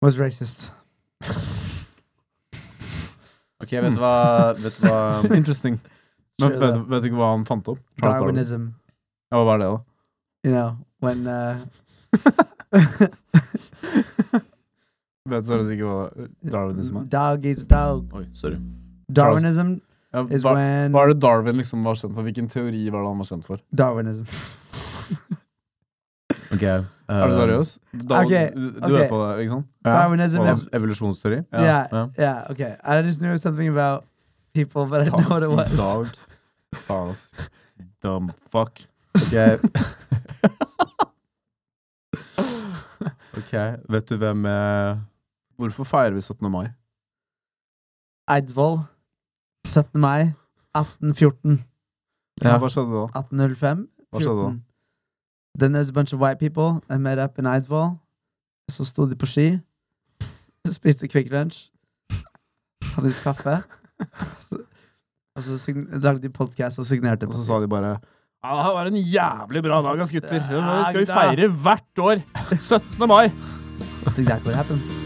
Speaker 3: was racist.
Speaker 2: Ok, vet du hva, vet du hva
Speaker 1: Interesting. Men
Speaker 3: Sure,
Speaker 1: vet,
Speaker 3: though.
Speaker 1: vet du ikke hva han fant opp? Charles Darwin.
Speaker 3: Darwinism.
Speaker 1: Ja, hva var det, da?
Speaker 3: You know when uh,
Speaker 1: Vet seriøst ikke hva darwinism er?
Speaker 3: dog eats dog.
Speaker 2: Oi, sorry.
Speaker 3: Darwinism
Speaker 1: Ja,
Speaker 3: is
Speaker 1: hva,
Speaker 3: when
Speaker 1: hva er det Darwin liksom var kjent for? Hvilken teori var det han var kjent for?
Speaker 3: Darwinism.
Speaker 2: Ok. eh,
Speaker 1: Er du seriøs? Da,
Speaker 3: Ok,
Speaker 1: du, du
Speaker 3: ok.
Speaker 1: vet hva det er, ikke sant?
Speaker 3: Darwinism
Speaker 1: Well,
Speaker 3: is
Speaker 2: Evolusjonsteori?
Speaker 1: Oh,
Speaker 3: yeah, yeah,
Speaker 2: yeah.
Speaker 3: Okay, I just knew something about people, but I didn't know what it
Speaker 1: Dag.
Speaker 3: was.
Speaker 1: Dag. Faen, ass. Dumb fuck.
Speaker 2: Ok. ok, vet du hvem eh,
Speaker 1: Hvorfor feirer vi 17. mai?
Speaker 3: Eidsvoll, 17. mai 1814,
Speaker 1: Ja. Hva skjedde da?
Speaker 3: 1805.
Speaker 1: Hva skjedde da?
Speaker 3: 14. Then there's a bunch of white people I met up in Eidsvoll. Så sto de på ski, s- spiste Quick Lunch, hadde litt kaffe. så- Og så sign- lagde de podkast og signerte
Speaker 1: Og
Speaker 3: på
Speaker 1: så sa de bare ja, det her var en jævlig bra dag, ass, gutter. Det skal vi
Speaker 3: Ja,
Speaker 1: feire hvert år. 17. mai.
Speaker 3: er That's exactly what happened.